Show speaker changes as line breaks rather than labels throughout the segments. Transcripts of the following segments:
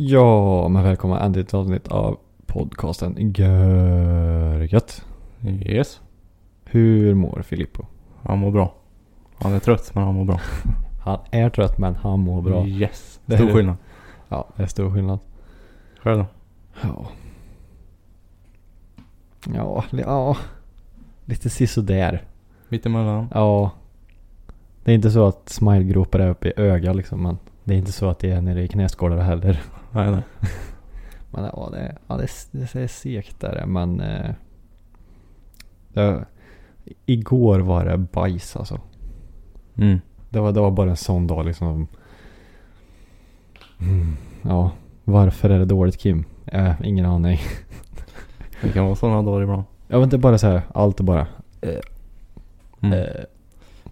Ja, men välkomna ändå till ett avsnitt av podcasten Görgött.
Yes.
Hur mår Filippo?
Han mår bra. Han är trött men han mår bra.
Han är trött men han mår bra.
Yes.
Det är
Stor
det.
skillnad.
Ja, det är stor skillnad.
Själv då?
Ja. Ja, li- ja. Lite sisådär.
Mittemellan.
Ja. Det är inte så att smilegropar är uppe i ögat liksom men det är inte så att det är nere i knäskålar heller.
Nej, nej.
Men ja, det, ja, det, det är segt där men... Eh, det, igår var det bajs alltså.
Mm.
Det var, det var bara en sån dag liksom. Mm, ja, varför är det dåligt Kim? Eh, ingen aning.
Det kan vara sådana dagar ibland.
Jag vet inte, bara så här, allt bara.
Mm.
Eh,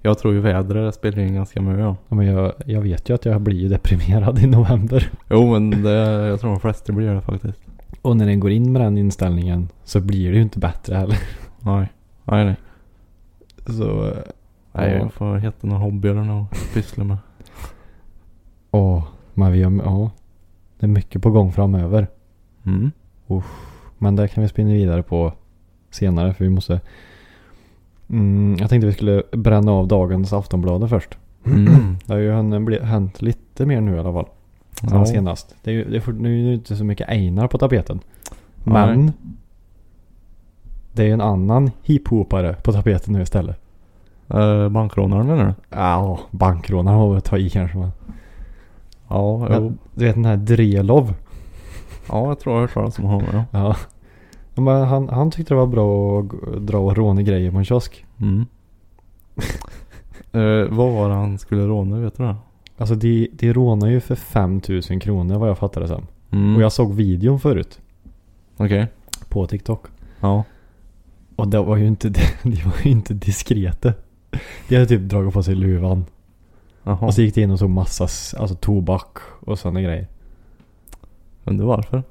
Jag tror ju vädret spelar in ganska mycket. Ja.
ja, men jag, jag vet ju att jag blir ju deprimerad i november.
Jo men det, jag tror de flesta blir det faktiskt.
Och när den går in med den inställningen så blir det ju inte bättre heller.
Nej. Nej nej.
Så, eh,
nej
Ja.
Jag får hitta någon hobby eller något att pyssla med.
åh, men vi har, ja. Det är mycket på gång framöver.
Mm.
Men det kan vi spinna vidare på senare för vi måste... Mm, jag tänkte vi skulle bränna av dagens Aftonbladet först.
Mm.
Det har ju hän- bli- hänt lite mer nu i alla fall. Sen
Ja.
senast. Det är ju det är, fort- nu är det ju inte så mycket Einar på tapeten.
Nej.
Men. Det är ju en annan hiphopare på tapeten nu istället.
Eh, Bankrånaren menar du?
Ja, bankrånaren har vi att ta i kanske. Men.
Ja, jo.
Men, du vet den här Drelov.
ja jag tror jag har hört talas om honom. Ja.
Ja. Men han, han tyckte det var bra att g- dra och råna grejer på en kiosk.
Mm. Eh, vad var det han skulle råna? Vet du det?
Alltså de, de rånar ju för 5000 kronor vad jag fattade som.
Mm.
Och jag såg videon förut.
Okej.
På TikTok.
Ja.
Och det var ju inte, de var ju inte diskreta. De hade typ dragit på sig luvan.
Jaha.
Och så gick de in och såg massa s- alltså, tobak och sådana grejer.
Undrar varför?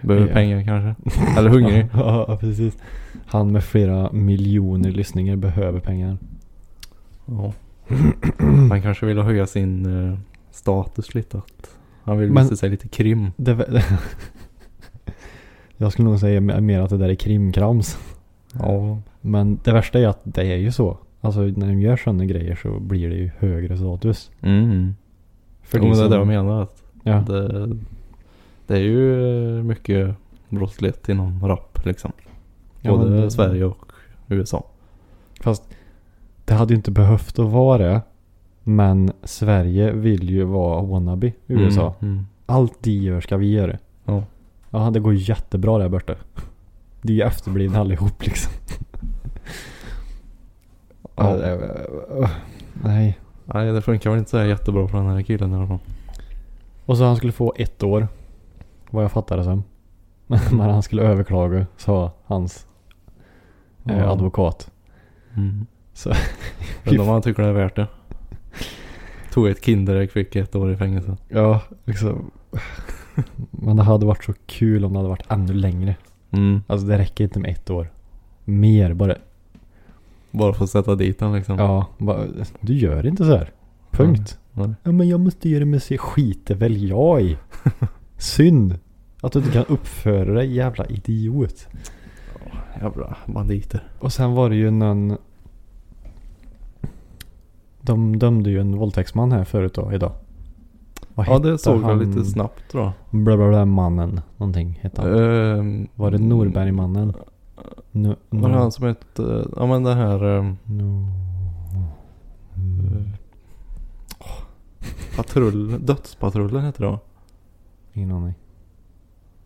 Behöver
Ja.
pengar kanske? Eller hungrig?
Ja, ja, precis. Han med flera miljoner lyssningar behöver pengar.
ja. Han kanske vill höja sin eh, status lite. Att han vill
Men-
visa sig lite krim.
Det, var- jag skulle nog säga me- mer att det där är krimkrams.
Ja.
Men det värsta är att det är ju så. Alltså när de gör sådana grejer så blir det ju högre status.
Mm.
För
jo, men det är
som-
det jag menar. Att
Ja,
det, det är ju eh, mycket brottslighet inom rap liksom.
Ja,
Både
men det-
Sverige och USA.
Fast det hade ju inte behövt att vara det. Men Sverige vill ju vara wannabe USA.
Mm. Mm.
Allt de gör ska vi göra.
Ja.
Ja, det går jättebra där borta. De är ju efterblivna allihop liksom.
Ja.
Ja, det- Nej.
Nej, det funkar väl inte så här jättebra för den här killen i alla fall.
Och så han skulle få ett år. Vad jag fattade som. Men när han skulle överklaga sa hans eh,
Ja.
advokat.
Mm.
Så-
Undrar om han tycker det är värt det. Tog ett Kinderägg, fick ett år i fängelse.
Ja, liksom. Men det hade varit så kul om det hade varit ännu längre.
Mm.
Alltså det räcker inte med ett år. Mer bara.
Bara för att sätta dit den liksom.
Ja, bara, du gör inte så här. Punkt.
Nej. Nej.
Ja men jag måste göra med sig. Skiter väl jag i. Synd. Att du inte kan uppföra dig jävla idiot.
Jävla banditer.
Och sen var det ju någon. De dömde ju en våldtäktsman här förut då, idag. Vad
Ja, det
hette
såg jag
han?
lite snabbt då.
Bla bla bla mannen. Någonting hette han.
Ehm,
Var det Norbergmannen? No,
Var det han som hette... ja men det här... ehm,
No. Mm,
patrull... Dödspatrullen heter det va?
Ingen aning.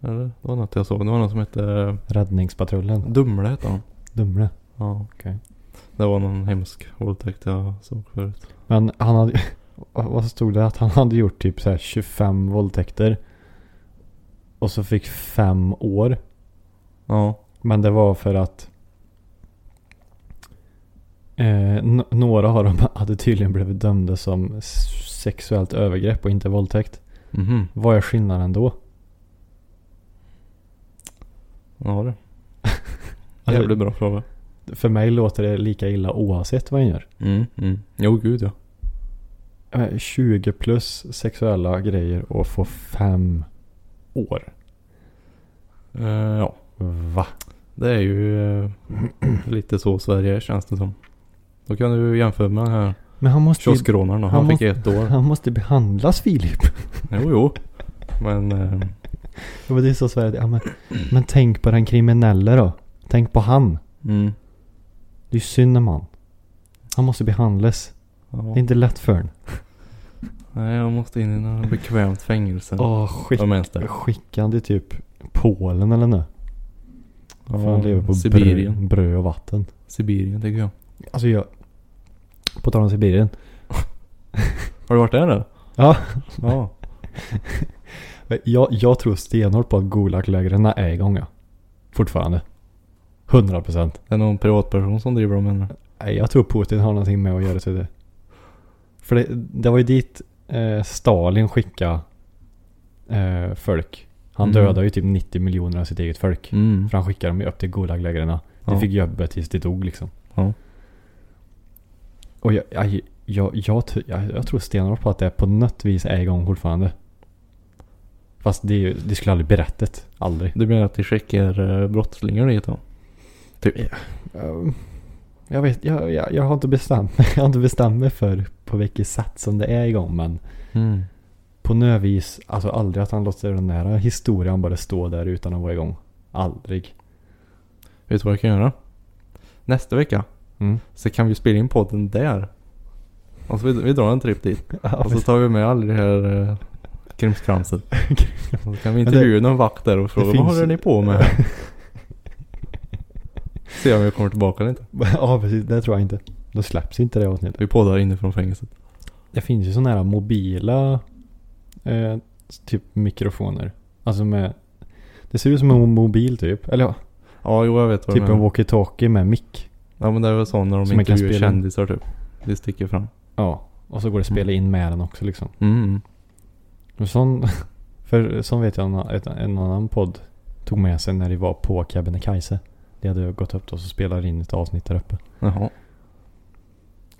Eller? Det var något jag såg. Det var någon som hette... eh,
Räddningspatrullen.
Dumle hette han.
Dumle.
Ja.
Okej.
Det var någon hemsk våldtäkt jag såg förut.
Men han hade vad vad stod det? Att han hade gjort typ så här 25 våldtäkter. Och så fick fem år.
Ja.
Men det var för att eh, n- några av dem hade tydligen blivit dömda som sexuellt övergrepp och inte våldtäkt.
Mhm.
Vad är skillnaden då?
Ja det.
Alltså-
Jävligt bra fråga.
För mig låter det lika illa oavsett vad han gör.
Mm, mm. Jo gud ja.
Eh, 20 plus sexuella grejer och få fem år.
Eh, ja.
Va?
Det är ju eh, lite så Sverige är, känns det som. Då kan du jämföra med den här
Men han måste ju,
kioskrånaren då.
han
Han fick
måste-
ett år.
han måste behandlas Filip.
Jo jo. Men eh,
Ja, men det är så Sverige. Ja, men, men tänk på den kriminelle då. Tänk på han.
mm.
Det är ju synd om han. Han måste behandlas.
ja.
Det är inte lätt för honom.
Nej jag måste in i något bekvämt fängelse.
Åh, skick,
Vad menas det?
skicka han till typ Polen eller nu. Får han lever på bröd,
Sibirien.
bröd och vatten.
Sibirien tycker jag.
Alltså jag... På tal om Sibirien.
Har du varit där eller?
Ja.
Ja.
Jag, jag tror stenhårt på att Gulag-lägren är igång ja. Fortfarande. 100 procent.
Det är någon privatperson som driver dem menar du?
Nej, jag tror Putin har någonting med att göra till det. För det, det var ju dit eh, Stalin skickade eh, folk. Han
Mm.
dödade ju typ 90 miljoner av sitt eget folk.
Mm.
För han skickade dem ju upp till Gulag-lägren. De
Ja.
fick jobba tills de dog liksom.
Ja.
Och jag, jag, jag, jag, tr- jag, jag tror stenhårt på att det på något vis är igång fortfarande. Fast det, är ju- det skulle aldrig berättat. Aldrig.
Du menar att de skickar eh, brottslingar dit då?
Um, Jag vet, jag, jag, jag har inte bestämt mig. Jag har inte bestämt mig för på vilket sätt som det är igång men
Mm.
på något vis, alltså aldrig att han låter den här historien bara stå där utan att vara igång. Aldrig.
Vet du vad jag kan göra? Nästa vecka
Mm.
så kan vi spela in podden där. Alltså vi, vi drar en trip dit. Och
Alltså,
så tar vi med all det här eh, krimskramset. Och så kan vi
det-
intervjua någon vakt där och fråga
finns-
vad håller ni på med? Se om vi kommer tillbaka eller inte.
ja precis, det tror jag inte. Då släpps inte det avsnittet.
Vi poddar inifrån fängelset.
Det finns ju sådana här mobila eh, typ mikrofoner. Alltså med, det ser ut som en mobil typ. Eller ja,
Ja, jo jag vet vad
typ
du
en
menar.
walkie-talkie med mick.
Ja men det är väl så när de
Som man kan
intervjuar
spela in.
kändisar typ. Det sticker fram.
Ja, och så går det att spela in med den också liksom.
Mm, Mm.
En sån, för sån vet jag en, ett- en annan podd tog med sig när de var på Kebnekaise. De hade gått upp då och så spelade in ett avsnitt där uppe.
Jaha.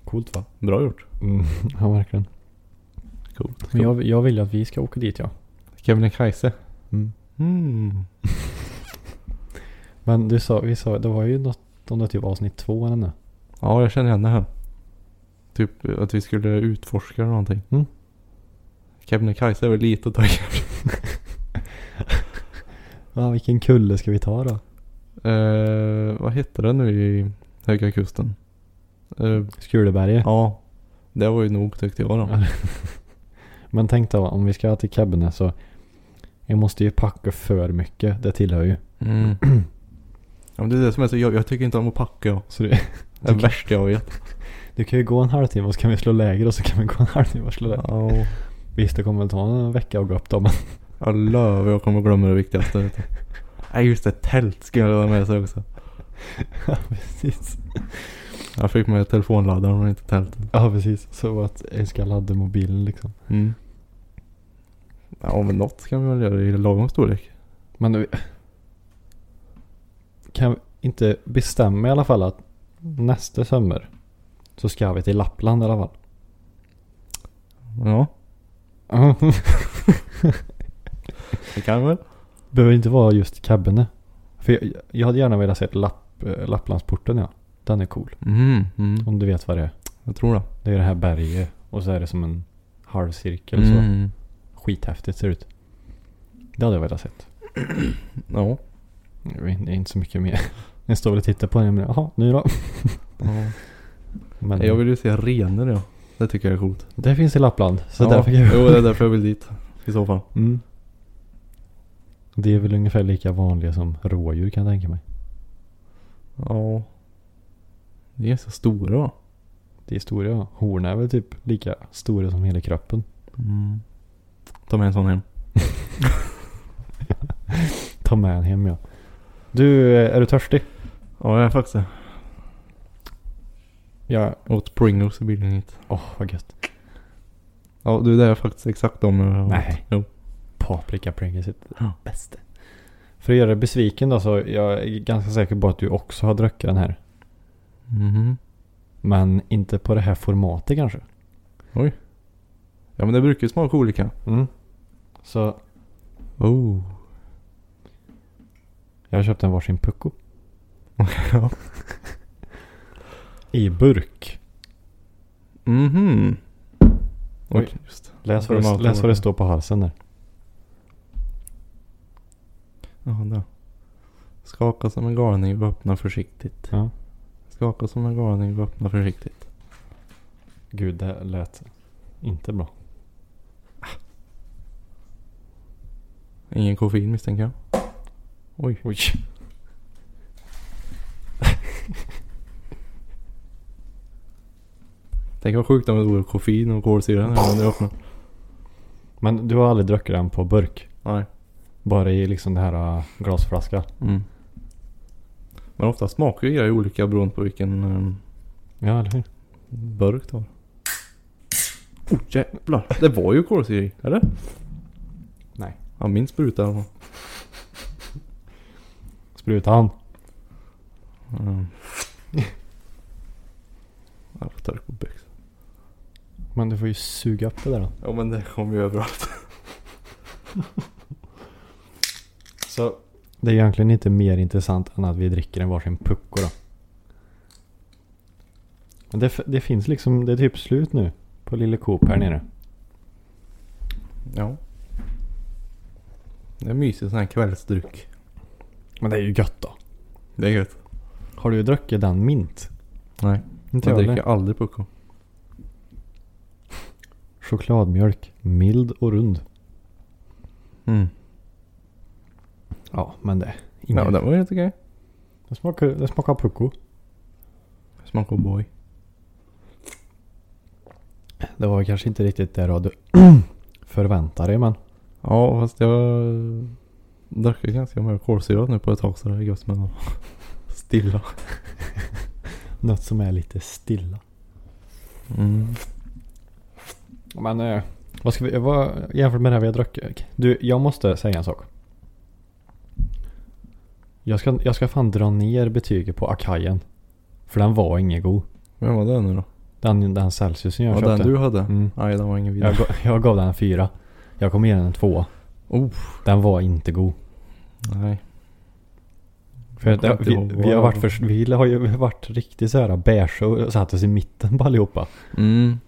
Coolt va?
Bra gjort.
Mm, ja verkligen.
Coolt.
Men jag, jag vill ju att vi ska åka dit ja.
Kebnekaise.
Mm.
Mm.
Men du sa, vi sa, det var ju något om det typ avsnitt två eller nu.
Ja, jag känner igen det här. Typ att vi skulle utforska någonting.
Mm.
Kebnekaise är väl lite att ta kanske.
Ja, vilken kulle ska vi ta då?
Eh, vad heter det nu i Höga Kusten? Eh,
Skuleberget.
ja, det var ju nog tyckte jag då.
Ja. Men tänk då om vi ska till Kebne så. Jag måste ju packa för mycket. Det tillhör ju.
Mm. Ja, men det är det som är så, jag, jag tycker inte om att packa. Jag.
Så det,
Det är det värsta jag vet.
du kan ju gå en halvtimme och så kan vi slå läger och så kan vi gå en halvtimme och slå läger.
Ja,
Visst, det kommer väl ta en vecka att gå upp då, men
jag lovar jag kommer glömma det viktigaste. vet du. Nej just det, tält skulle jag ha med sig också.
ja, precis.
Jag fick med telefonladdaren men inte tältet.
Ja, precis. Så att jag ska ladda mobilen liksom.
Mm. Ja men något kan vi väl göra i lagom storlek.
Men nu, kan vi inte bestämma i alla fall att nästa sommar så ska vi till Lappland i alla fall.
Ja, det kan vi väl.
Behöver inte vara just Kebne. För jag, jag hade gärna velat se Lapp, eh, Lapplandsporten ja. Den är cool.
Mm, mm.
Om du vet vad det är.
Jag tror det.
Det är det här berget och så är det som en halvcirkel så.
Mm.
Skithäftigt ser det ut. Det hade jag velat sett.
Ja.
Jag vet inte- Det är inte så mycket mer. Jag står väl och tittar på den men jaha, nu då?
ja.
Men
Jag vill ju se renor ja. Det tycker jag är coolt.
Det finns i Lappland. Så
ja.
därför kan jag...
Jo det är därför jag vill dit. I så fall.
Mm. Det är väl ungefär lika vanliga som rådjur kan jag tänka mig.
Ja. De är så stora va?
Det är historia. Hornen är väl typ lika stora som hela kroppen.
Mm. Ta med en sån hem.
Ta med den hem ja. Du, eh, är du törstig?
Ja, jag är faktiskt det.
Ja.
Åt Pringles i bilen hit.
Åh vad gött.
Ja, du det är jag faktiskt exakt om jag har åt.
Nej.
Jo.
Paprika Pringles är det
Ja.
bästa. För att göra dig besviken då så jag är ganska säker på att du också har druckit den här.
Mhm.
Men inte på det här formatet kanske.
Ja men det brukar ju smaka olika.
Mm. Så
Oh.
jag köpte en varsin pucko.
ja.
I burk.
Mhm. Oj,
Oj.
just
Läs vad, det,
Formatet.
läs vad det står på halsen där.
Ja, där. Skaka som en garning och öppna försiktigt.
Ja.
Skaka som en garning och öppna försiktigt.
Gud, det lät inte bra.
Ingen koffein misstänker jag. Oj.
Oj.
Tänk vad sjukt om det vore koffein och kolsyra när du öppnar.
Men du har aldrig druckit den på burk?
Nej.
Bara i liksom det här äh, glasflaskan?
Mm. Men ofta smakar ju grejer olika beroende på vilken um,
Ja, eller hur?
burk du har. Oh jävlar. Det var ju kolsyra i, eller?
Nej.
Ja, min spruta i alla fall.
Sprutan.
Mm. Jag får torka på byxan.
Men du får ju suga upp det där då.
Ja men det kommer ju överallt.
Så det är egentligen inte mer intressant än att vi dricker en varsin pucko då. Men det, f- det finns liksom, det är typ slut nu på Lille Coop här nere.
Ja. Det är mysigt sån här kvällsdryck.
Men det är ju gött då.
Det är gött.
Har du druckit den mint?
Nej.
Inte
Jag
jag
dricker
heller.
aldrig pucko.
Chokladmjölk, mild och rund.
Mm.
Ja, men det. Ingen.
Ja, det var helt okej.
det, smakar, det smakar pucko.
Smakar O'boy.
Det var kanske inte riktigt det du hade förväntat dig men.
Ja, fast jag drack ju ganska mycket kolsyra nu på ett tag så det är gött med något stilla.
Något som är lite stilla.
Mm.
Men eh, vad ska vi, vad, jämfört med det här vi har druckit. Du, jag måste säga en sak. Jag ska, jag ska fan dra ner betyget på Akajen. För den var ingen god.
Vem var det nu då?
Den, den Celsiusen jag
Ja,
köpte.
den du hade?
Mm.
Nej, den var ingen vidare.
jag, gav, jag gav den en fyra. Jag kom igen en tvåa.
Oh,
Den var inte god.
nej.
För
Jag kommer
det, vi,
inte ihåg vad
vi, har
jag
varit
var.
för, vi har ju varit riktigt så här beige och satt oss i mitten på allihopa.
Mm.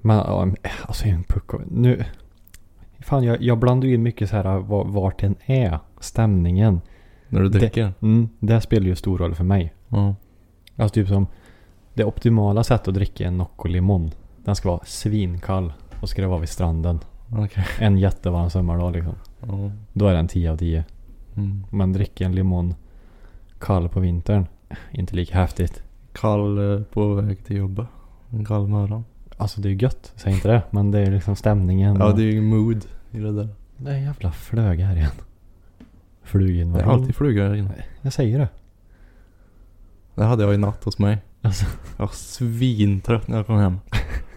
Men ja, men, alltså en pucko. Nu. Fan jag, jag blandar ju in mycket så här va- vart den är. Stämningen.
När du
Det-
dricker?
Mm, det spelar ju stor roll för mig.
Ja.
Alltså typ som det optimala sättet att dricka en Nocco Limon. Den ska vara svinkall och ska det vara vid stranden.
Okej.
En jättevarm sommardag liksom.
Ja.
Då är den 10 av 10.
Mm.
Men dricker en limon kall på vintern. eh, Inte lika häftigt.
Kall eh, på väg till jobbet. En kall morgon.
Alltså det är ju gött, säg inte det. Men det är liksom stämningen.
Ja,
och-
det är ju mood i det där.
Det är en jävla flög här igen.
Det är
Fluginvasion.
alltid flugor här inne.
Jag säger det.
Det hade jag i natt hos mig.
Alltså.
Jag var svintrött när jag kom hem.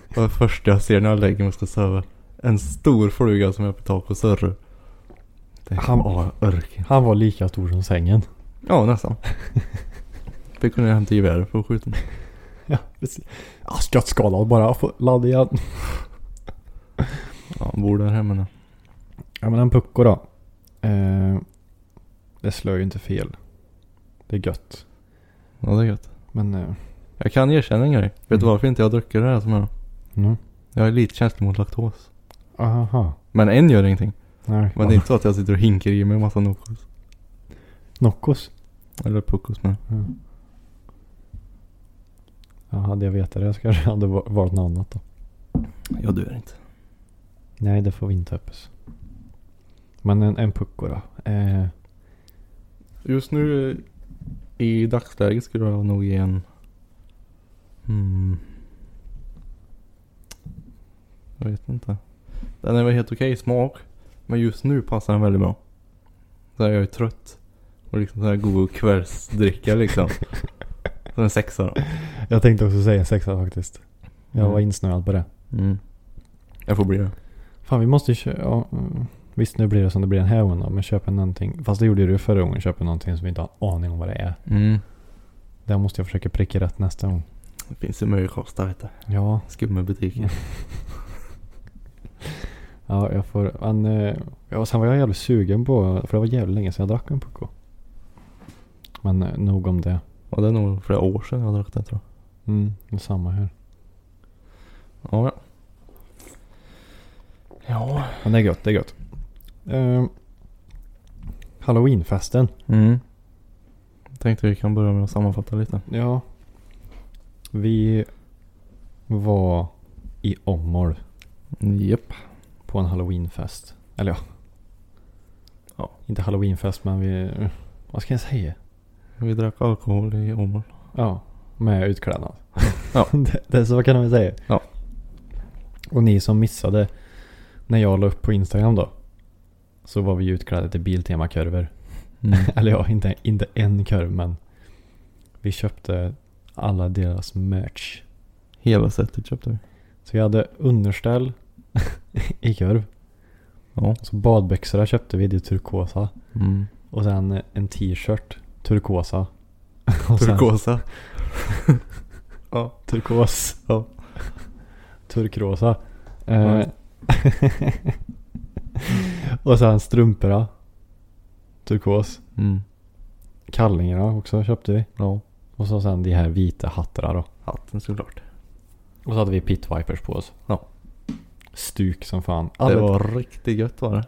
Det var det första jag ser när jag lägger mig och ska sova. En stor fluga som är på tak och surrar. Det är
Han-
Ja, örken.
Han var lika stor som sängen.
Ja, nästan. Fick gå ner och hämta geväret för att skjuta den.
Ja, precis. Ah, Skottskadad bara. Jag får Ladda igen.
Ja, han bor där hemma nu.
Ja men en pucko då. Eh, det slår ju inte fel. Det är gött.
Ja, det är gött.
Men eh,
Jag kan erkänna en grej. Vet du
Mm.
varför inte jag dricker det här som jag
mm.
Jag är lite känslig mot laktos.
aha.
Men en gör ingenting.
Nej.
Men det är inte så att jag sitter och hinkar i mig en massa Nokos.
Ah, Noccos.
Eller Puckos men.
Ja, hade jag vetat det jag kanske hade va- valt något annat då.
Jag dör inte.
Nej det får vi inte hoppas. Men en, en pucko då. Eh,
Just nu eh, i dagsläget skulle jag nog ge en Hmm.
Mm.
Jag vet inte. Den är väl helt okej i smak. Men just nu passar den väldigt bra. Så här, jag är trött. Och liksom så här god kvällsdricka liksom. Så en sexa då.
Jag tänkte också säga en sexa faktiskt. Jag
Mm.
var insnöad på det.
Mm. Jag får bli det.
Fan vi måste ju köpa... Ja, mm. visst nu blir det som det blir den här gången då, men köpa någonting. Fast det gjorde ju du förra gången. Köpa någonting som vi inte har en aning om vad det är.
Mm.
Där måste jag försöka pricka rätt nästa gång.
Det finns ju mycket kostar vet du.
Ja,
Skummebutiken.
ja jag får... Men, eh, ja, sen var jag jävligt sugen på... För det var jävligt länge sedan jag drack en Pucko. Men eh, nog om det.
Och det är nog flera år sedan jag drack det tror
Mm, det är samma här.
jag. Ja, ja. Ja.
Men det är gött, det är gött. Eh, Halloweenfesten.
Mm. Tänkte vi kan börja med att sammanfatta lite.
Ja. Vi var i Åmål
Japp.
på en halloweenfest. Eller ja.
Ja.
Inte halloweenfest men vi... Vad ska jag säga?
Vi drack alkohol i Åmål.
Ja. Med utklädnad.
Ja.
det, det, så vad kan man säga?
Ja.
Och ni som missade när jag la upp på Instagram då. Så var vi ju utklädda till Biltema-kurvor.
Mm.
Eller ja, inte, inte en kurv men. Vi köpte alla deras merch.
Hela setet köpte vi.
Så vi hade underställ i kurv.
Ja.
Och så badbyxorna köpte vi, det är turkosa.
Mm.
Och sen eh, en t-shirt, turkosa. Och sen-
Turkosa. ja.
Turkos. Ja. Turkrosa. Eh,
Ja.
och sen strumporna. Turkos.
Mm.
Kallingarna också köpte vi.
Ja.
Och så sen de här vita hattarna då.
Hatten såklart.
Och så hade vi pitvipers på oss.
Ja.
Stuk som fan.
Det
Alla,
var riktigt gött var det.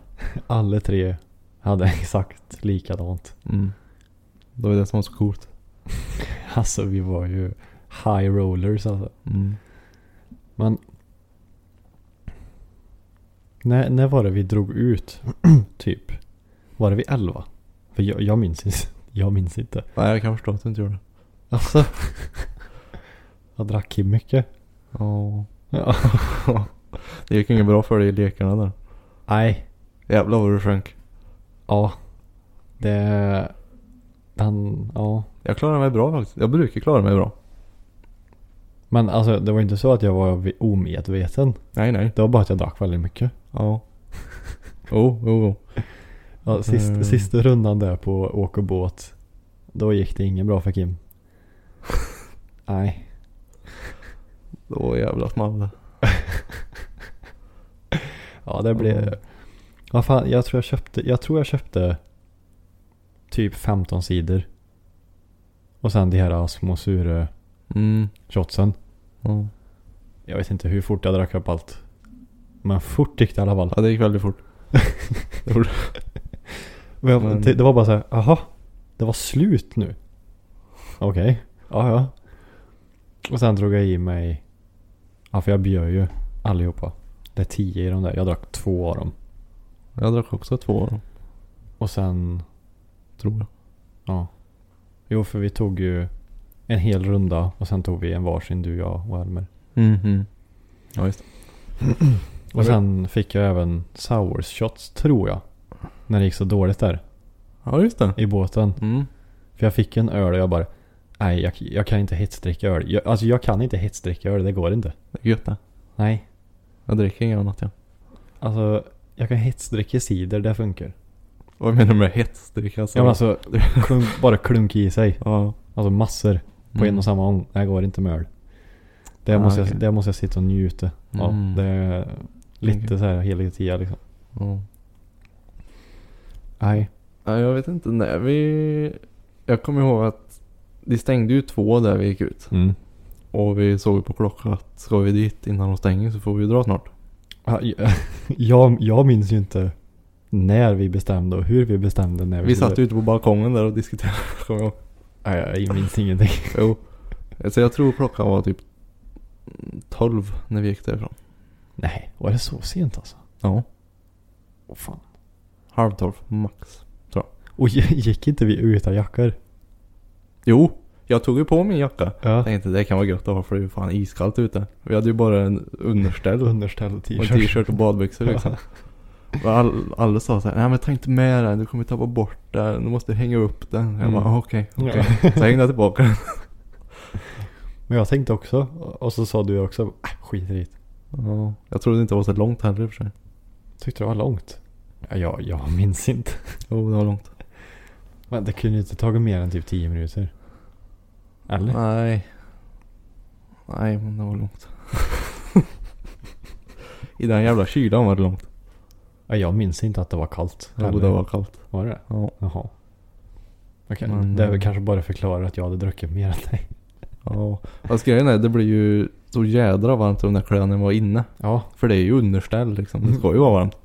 alla tre hade exakt likadant.
Mm. Det var det som var så coolt.
Alltså vi var ju high rollers alltså.
Mm.
Men när, när var det vi drog ut? typ. Var det vid 11? För jag, jag minns inte. Jag minns inte.
Nej jag kan förstå att du inte gjorde det.
Alltså. jag drack Kim mycket.
Ja.
Ja.
Det gick inget bra för dig i lekarna där.
Nej.
Jävlar vad du sjönk.
Ja. Det... Den, ja.
Jag klarade mig bra faktiskt. Jag brukar klara mig bra.
Men alltså det var inte så att jag var vid- omedveten.
Nej nej.
Det var bara att jag drack väldigt mycket.
Ja. Jo, jo, jo.
Ja, sist,
Mm.
Sista rundan där på åk och båt. Då gick det ingen bra för Kim. Nej.
Det var jävla small.
Ja det blev...
Mm.
Vad fan, jag tror jag köpte, jag tror jag köpte typ 15 sidor. Och sen de här små sura
Mm.
shotsen.
Ja.
Jag vet inte hur fort jag drack upp allt. Men fort gick det i alla fall.
ja, det gick väldigt fort. Det gjorde-
Men jag-
Men-
Det, det var bara så här, aha, det var slut nu. Okej, ja ja. Och sen drog jag i mig, ja för jag bjöd ju allihopa. Det är tio i de där, jag drack två av dem.
Jag drack också två av dem,
Och sen,
tror jag.
ja. Jo för vi tog ju en hel runda och sen tog vi en varsin du, jag och Elmer.
Mhm. Ja, just det.
Och sen fick jag även sour shots tror jag. När det gick så dåligt där
Ja, just det.
i båten.
Mm.
För jag fick en öl och jag bara, nej jag, jag kan inte hetsdricka öl. Jag, alltså jag kan inte hetsdricka öl, det går inte.
Det är gött det.
Nej.
Jag dricker inget annat jag.
Alltså, jag kan hetsdricka cider, det funkar.
Vad menar du med hetsdricka? Alltså?
Ja men alltså, klunk, bara klunk i sig.
Ja.
Alltså massor på en och samma gång. Det går inte med öl. Det
Ah,
måste,
okej.
jag, det måste jag sitta och njuta av.
Mm.
Det är lite
Okej.
så här hela tiden liksom.
Ja.
Nej.
Ja, jag vet inte när vi... Jag kommer ihåg att de stängde ju två där vi gick ut.
Mm.
Och vi såg ju på klockan att ska vi dit innan de stänger så får vi ju dra snart.
Ja, Jag, jag minns ju inte när vi bestämde och hur vi bestämde när vi,
Vi
skulle-
satt ju ute på balkongen där och diskuterade. kommer jag ihåg.
Nej, jag minns ingenting.
Jo. Så jag tror klockan var typ 12 när vi gick därifrån.
Nej, var det så sent alltså?
Ja.
Åh fan.
Halv 12 max.
Och gick inte vi utan jackor?
Jo. Jag tog ju på min jacka.
Ja.
Tänkte det kan vara gött att ha för det är ju fan iskallt ute. Vi hade ju bara en underställ och
Underställ och
en
t-shirt.
t-shirt och badbyxor liksom. Och all, alla sa såhär, nej men ta inte med den, du kommer tappa bort den, du måste hänga upp den. Jag
Mm.
bara, "Ah, okej,
Ja.
okej. Så hängde jag tillbaka den.
Men jag tänkte också, och så sa du också, "Äh, skit i det.
Ja. Jag trodde inte det var så långt heller i och för sig.
Tyckte det var långt. Ja, jag, jag minns inte.
Jo, det var långt.
Men det kunde ju inte tagit mer än typ 10 minuter. Eller?
Nej. Nej, men det var långt. I den jävla kylan var det långt.
Ja, jag minns inte att det var kallt.
Jo,
heller.
det var kallt.
Var det?
Ja.
Jaha. Okej,
Men,
det är
eh,
väl kanske bara förklarar att jag hade druckit mer än dig.
Ja, fast grejen är det blir ju så jädra varmt om när kläderna var inne.
Ja,
För det är ju underställ liksom. Det ska ju vara varmt.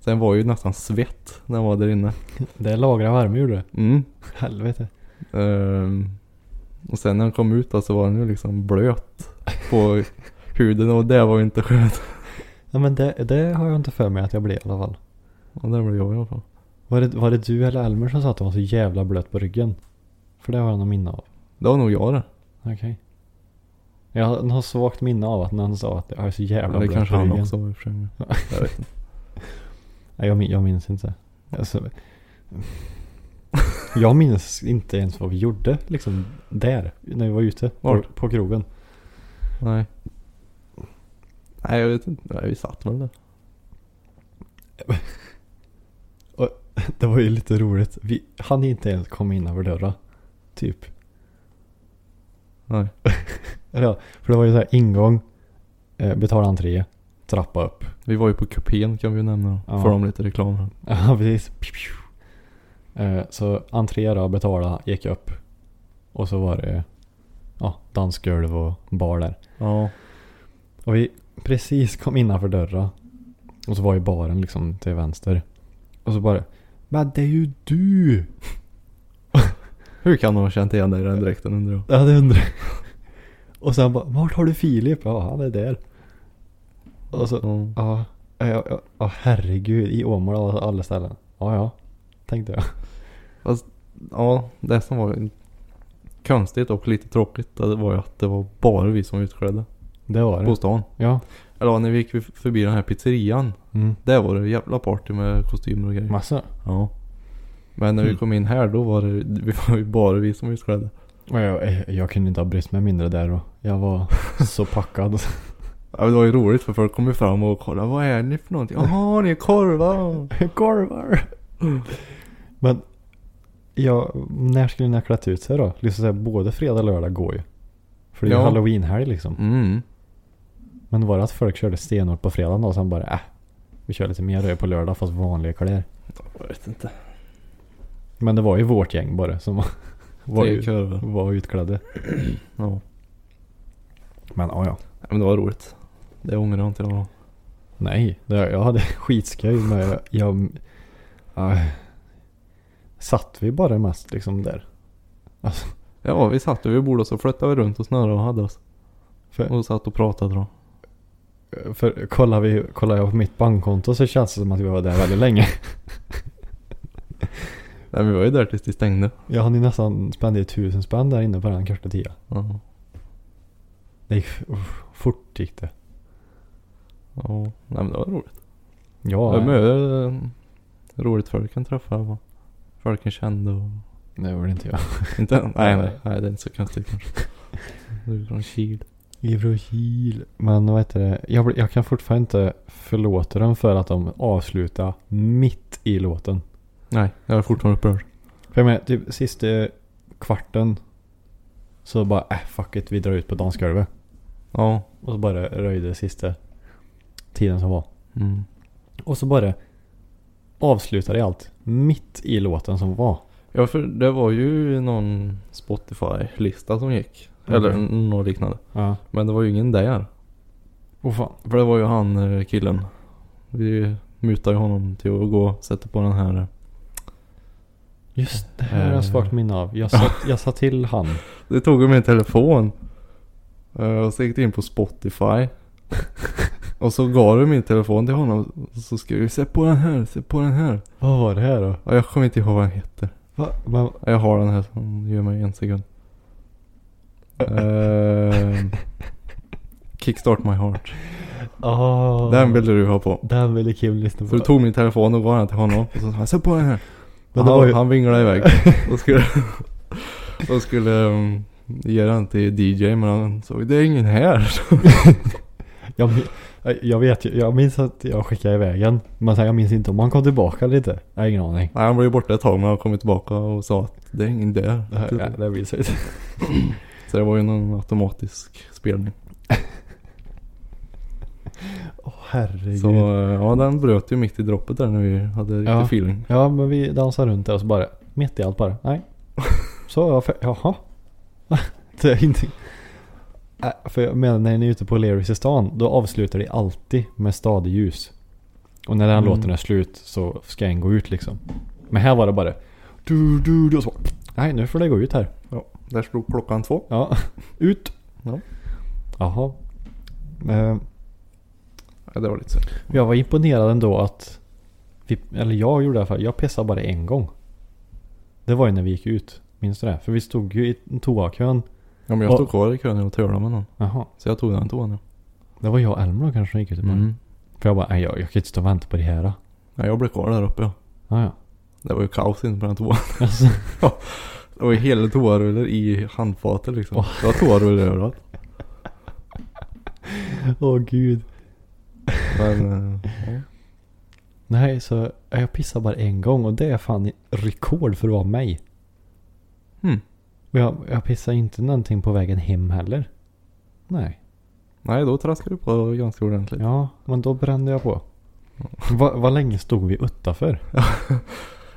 Sen var ju nästan svett när jag var där inne.
det lagrar värme gjorde det.
Mm.
Helvete.
Ehm, och sen när den kom ut då, så var den ju liksom blöt på huden och det var ju inte skönt.
Ja, men det, det har jag inte för mig att jag blev i alla fall.
Ja, det blev jag i alla fall.
Var det, var det du eller Elmer som sa att de var så jävla blöt på ryggen? För det har jag något minne av.
Det var nog jag det.
Okej. Jag har något svagt minne av att någon sa att jag är så jävla
Eller
blöt
kanske
på
han
ryggen.
också var i och för sig. men Jag vet inte.
Nej, jag, min, jag minns inte. Alltså, jag minns inte ens vad vi gjorde liksom där. När vi var ute. På,
Vart?
på krogen.
Nej. Nej jag vet inte. Nej, vi satt väl där.
Det var ju lite roligt. Vi hann inte ens komma innanför dörren. Typ.
Nej.
Eller ja, för det var ju så här ingång, eh, betala entré, trappa upp.
Vi var ju på kupén kan vi ju nämna.
Ja.
Ja. Får de lite reklam här.
Ja, precis. Piu, piu. Eh, Så entré då, betala, gick upp. Och så var det ja, dansgolv och bar där.
Ja.
Och vi precis kom innanför dörren. Och så var ju baren liksom till vänster. Och så bara Men det är ju du!
Hur kan de ha känt igen dig i den dräkten undrar jag?
Ja det undrar jag. Och sen bara Vart har du Filip? Ja han är där. Och så
Ja.
Ja, ja, ja, ja herregud. I Åmål av alla ställen. Ja, ja. Tänkte jag.
ja, det som var konstigt och lite tråkigt det var ju att det var bara vi som var utklädda
Det var det.
på stan.
Ja.
Eller ja, när vi gick förbi den här pizzerian.
Mm.
Där var det jävla party med kostymer och grejer.
Massa.
Ja. Men när vi
Mm.
kom in här då var det, vi var ju bara vi som var utklädda.
Och jag, jag, jag kunde inte ha brytt mig mindre där då. Jag var så packad.
Ja, men det var ju roligt för folk kom ju fram och kollade vad är ni för någonting? Jaha, ni är korvar.
Korvar! Men ja, när skulle ni ha klätt ut sig då? Liksom så här, både fredag och lördag går ju. För det är ju
Ja.
halloweenhelg liksom.
Mm.
Men var det att folk körde stenhårt på fredagen då och sen bara äh, vi kör lite mer röd på lördag fast vanliga kläder.
Jag vet inte.
Men det var ju vårt gäng bara som var, var,
Tre
ut,
korvar.
var utklädda.
Ja.
Men ja, ja.
Ja, Men det var roligt. Det ångrar jag inte jag.
Nej, det, jag hade skitskoj men jag, jag, jag... Satt vi bara mest liksom där? Alltså,
Ja, vi satt vid bordet och så flyttade vi runt och snurrade och hade oss.
För-
Och satt och pratade då.
för kollar, vi, kollar jag på mitt bankkonto så känns det som att vi var där väldigt länge.
Nej, vi var ju där tills de stängde.
Jag hann ju nästan spendera tusen spänn där inne på den korta tiden.
Ja.
Det gick uff, fort gick det.
ja. Nej, men det var roligt. Det
Ja,
var mycket eh, roligt folk kan träffa. Och folk kan kände och...
det var det inte jag.
Inte? Nej, nej. Nej, det är inte så konstigt kanske. Du är från Kil.
Ibro Kil. Men vad heter det? Jag, blir- jag kan fortfarande inte förlåta dem för att de avslutar mitt i låten.
Nej, jag är fortfarande upprörd.
För jag menar, typ sista kvarten så bara äh, fuck it, vi drar ut på dansgolvet.
Ja.
Och så bara röjde sista tiden som var.
Mm.
Och så bara avslutade jag allt mitt i låten som var.
Ja, för det var ju någon Spotify-lista som gick. Eller
Okej.
n- något liknande.
Ja.
Men det var ju ingen där.
Oh, fan.
För det var ju han eh, killen. Vi mutade ju honom till att gå och sätta på den här. eh.
Just det här har jag svagt minne av. Jag sa, jag sa till han.
Det tog ju min telefon. Eh, Och så gick det in på Spotify. och så gav du min telefon till honom. Och så skrev jag sätt på den här, sätt på den här.
Vad var det här då?
Och jag kommer inte ihåg vad den heter.
Va? Men,
Jag har den här som ger mig en sekund. Ehm, kickstart my heart.
Oh,
Den ville du ha på.
den ville Kim lyssna
Så
på.
du tog min telefon och var den till honom. Och så sa han sätt på den här.
Men det
han,
var ju,
han vinglade iväg. och skulle, och skulle um, ge den till DJ men han såg det är ingen här.
jag, min- jag vet ju, jag minns att jag skickade iväg den. Men sen jag minns inte om han kom tillbaka lite. Jag har ingen aning.
Nej han blev borta ett tag men han kom tillbaka och sa att det är ingen där.
Det, här, ja, det blir så.
Så det var ju någon automatisk spelning.
Åh herregud.
Så eh, ja den bröt ju mitt i droppet där när vi hade riktig
Ja.
feeling.
Ja men vi dansar runt där och så bara, mitt i allt bara, nej. Så jag för, jaha. det är inte... Äh, För jag menar när ni är ute på O'Learys i stan, då avslutar det alltid med stadig ljus. Och när den
Mm.
låten är slut så ska en gå ut liksom. Men här var det bara, du du du och så. Nej nu får det gå ut här.
Där slog klockan två.
Ja, ut.
Ja.
Jaha. Eh,
Ja, det var lite synd.
Jag var imponerad ändå att, vi, eller jag gjorde i alla fall, jag pissade bara en gång. Det var ju när vi gick ut, minns du det? För vi stod ju i toakön.
Ja men jag
Och-
stod kvar i kön och tölade med någon.
Jaha,
Så jag tog den toan nu.
det var jag och Elmer då kanske som gick ut ibland.
Mm.
För jag bara, nej jag, jag kan inte stå och vänta på det här. då."
Ja, jag blev kvar där uppe ja.
Ja, ja.
Det var ju kaos inne på den toan.
Alltså,
Det var ju hela toarullar i handfatet liksom. Det var toarullar överallt.
åh gud.
Men eh, ja.
Nej, så ja, jag pissade bara en gång och det är fan rekord för att vara mig.
Hmm.
Och jag, jag pissade inte någonting på vägen hem heller. Nej.
nej då traskade du på ganska ordentligt.
Ja, men då brände jag på. Va- Vad länge stod vi utanför?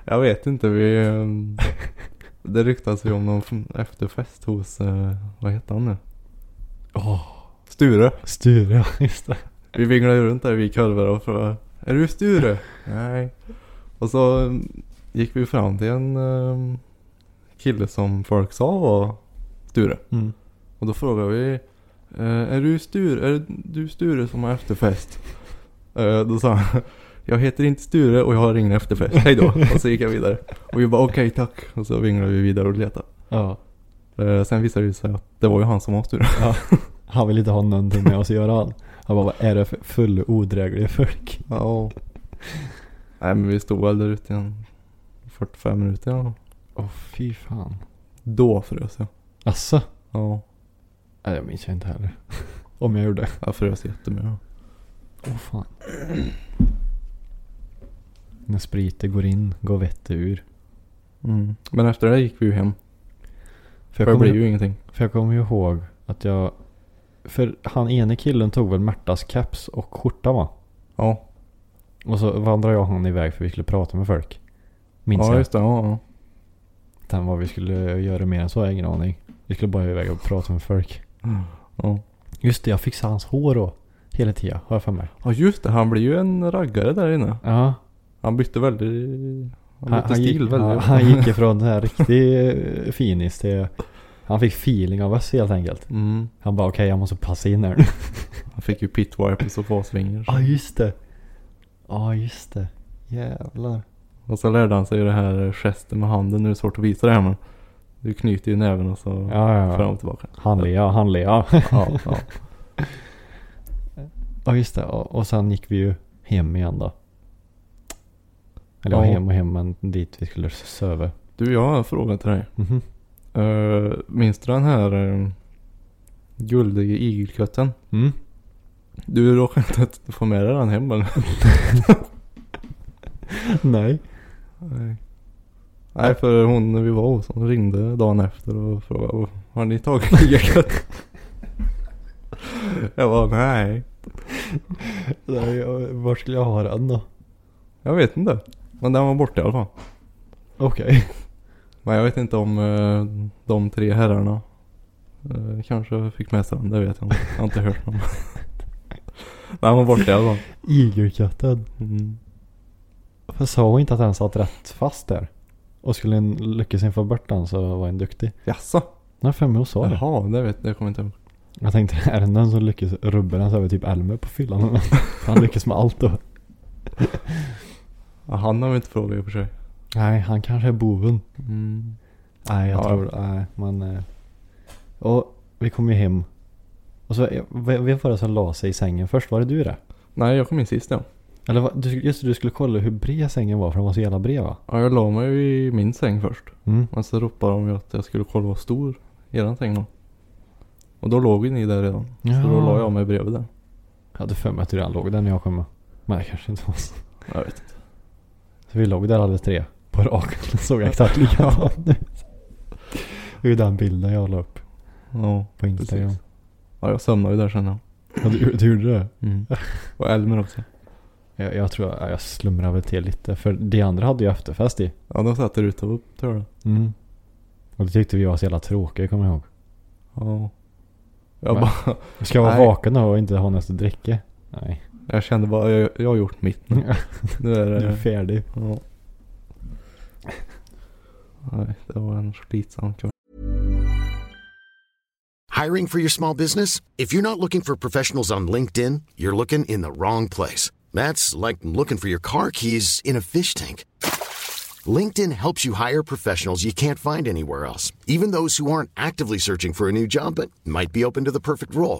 Jag vet inte, vi... eh, Det ryktas ju om någon f- efterfest hos, eh, vad heter han nu?
Åh,
Sture.
Sture, ja, just det.
Vi vinglade ju runt där vi kurvor och frågade Är du Sture? Nej. Och så eh, gick vi fram till en eh, kille som folk sa var Sture.
Mm.
Och då frågade vi eh, Är du Sture? Är du Sture som har efterfest? Eh, då sa han Jag heter inte Sture och jag har ingen efterfest. Hej då. Och så gick jag vidare. Och vi bara okej tack. Och så vinglade vi vidare och letade.
Ja.
Eh, sen visade det sig att det var ju han som var Sture.
Han vill inte ha någonting med oss att göra han. Han bara, vad är det för full odrägliga folk?
Ja. Nej men vi stod väl där ute i en 45 minuter ja.
Åh oh, fy fan.
Då frös jag.
Asså?
Ja.
Nej, jag minns jag inte heller. Om jag gjorde.
Jag frös jättemycket.
Åh oh, fan. När spriten går in, går vettet ur.
Mm. Men efter det gick vi ju hem.
För
För
jag,
det blev
kommer,
ju ingenting.
för jag kommer ju ihåg att jag... För han ene killen tog väl Märtas caps och skjorta va?
Ja.
Och så vandrade jag och han iväg för vi skulle prata med folk. Minns
ja
jag.
just det. Ja, ja.
Sen vad vi skulle göra mer än så har jag ingen aning. Vi skulle bara iväg och prata med folk.
Ja.
Just det, jag fixade hans hår då. Hela tiden, har jag för mig.
ja just det. Han blev ju en raggare där inne.
Ja.
Han bytte väldigt... Han bytte
gick,
stil väldigt.
ja, han gick ifrån den här riktig eh, finis till... Han fick feeling av oss helt enkelt.
Mm.
Han bara okej jag måste passa in här nu.
Han fick ju pitwipers och fasvingar.
Ja just det. Ja just det. Jävlar.
Och så lärde han sig ju det här gesten med handen. Nu är det svårt att visa det här men. Du knyter ju näven och så
Ja ja.
fram
ja.
och tillbaka.
Handle ja, handle ja.
Ja, ja.
Ja just det. Och, och sen gick vi ju hem igen då. Eller ja.
Ja.
hem och hem men dit vi skulle söva.
Du, jag har en fråga till dig.
Mhm.
Uh, minns du den här uh, guldiga igelkötten?
Mm.
Du råkade inte att få med dig den hem eller?
Nej.
Nej. Nej, för hon när vi var hos hon ringde dagen efter och frågade "Och, Har ni tagit igelkött? jag bara nej.
Nej, jag- Var skulle jag ha den då?
Jag vet inte. Men den var borta i alla fall.
Okej.
Men jag vet inte om eh, de tre herrarna eh, kanske fick med sig den. Det vet jag inte. Jag har inte hört någon. den var borta i alla fall.
Igelkatten.
Mm.
För sa hon inte att den satt rätt fast där? Och skulle en lyckas få bort den så var en duktig.
Jaså?
Nej, för mig hon sa det.
Jaha, det vet jag. kommer inte ihåg.
Jag tänkte, är det någon som lyckas rubba den så är det typ Elmer på fyllan. Han lyckas med allt då.
Ja, han har vi inte frågat i och för sig.
Nej, han kanske är boven.
Mm.
Nej, jag
Ja.
tror Nej, men... eh, Och vi kom ju hem. Och så, eh, v- vem var det som la sig i sängen först? Var det du det?
Nej, jag kom in sist ja.
Eller vad- du, just det, du skulle kolla hur bred sängen var för den var så jävla bred va?
ja jag la mig ju i min säng först.
Mm.
Men så ropade de ju att jag skulle kolla hur stor eran säng var. Och då låg ju ni där redan. Så då la jag mig bredvid den.
Jag hade för mig att du redan låg där när jag kom. Men det kanske inte var så.
Jag vet inte.
Så vi låg där alla tre på raken. Såg jag exakt likadant ut. Det är ju den bilden jag la upp
Ja,
på Instagram.
precis. Ja, jag sömnade ju där sen ja. Mm.
Ja, du, du gjorde det?
Och Elmer också.
Jag, jag tror jag, jag slumrade väl till lite. För de andra hade ju efterfest i.
Ja, de satt där ute och upp tror jag.
Mm. Och det tyckte vi var så jävla tråkiga kommer jag ihåg.
Ja. Jag,
Va?
bara,
Ska jag vara
Nej.
vaken då och inte ha något att dricka? Nej.
jag kände bara, jag, jag har gjort mitt nu. Nu är
Du är
det...
färdig.
Ja. Nej, det var en slitsam kväll.
Hiring for your small business? If you're not looking for professionals on LinkedIn, you're looking in the wrong place. That's like looking for your car keys in a fish tank. LinkedIn helps you hire professionals you can't find anywhere else, even those who aren't actively searching for a new job but might be open to the perfect role.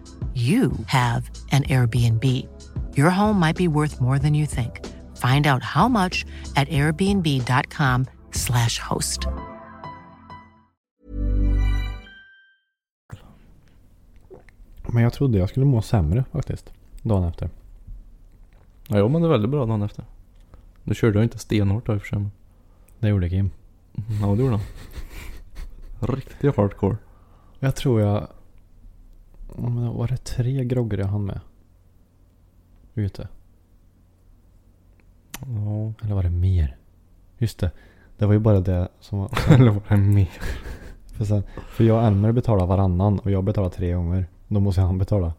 you have an Airbnb. Your home might be worth more than you think. Find out how much at airbnb.com/slash host.
Men jag trodde jag skulle må sämre faktiskt. Dagen efter.
Ja, jag mådde väldigt bra dagen efter. Nu körde jag inte stenhårt då i och för sig. men-
Det gjorde Kim.
Ja, det gjorde han. Riktig hardcore.
Jag tror jag... om det Var det tre groggar jag hann med? Ute.
Ja.
Eller var det mer? Just det. Det var ju bara det som var...
Eller var det mer?
För, sen, för jag och Elmer betalar varannan och jag betalar tre gånger. Då måste han betala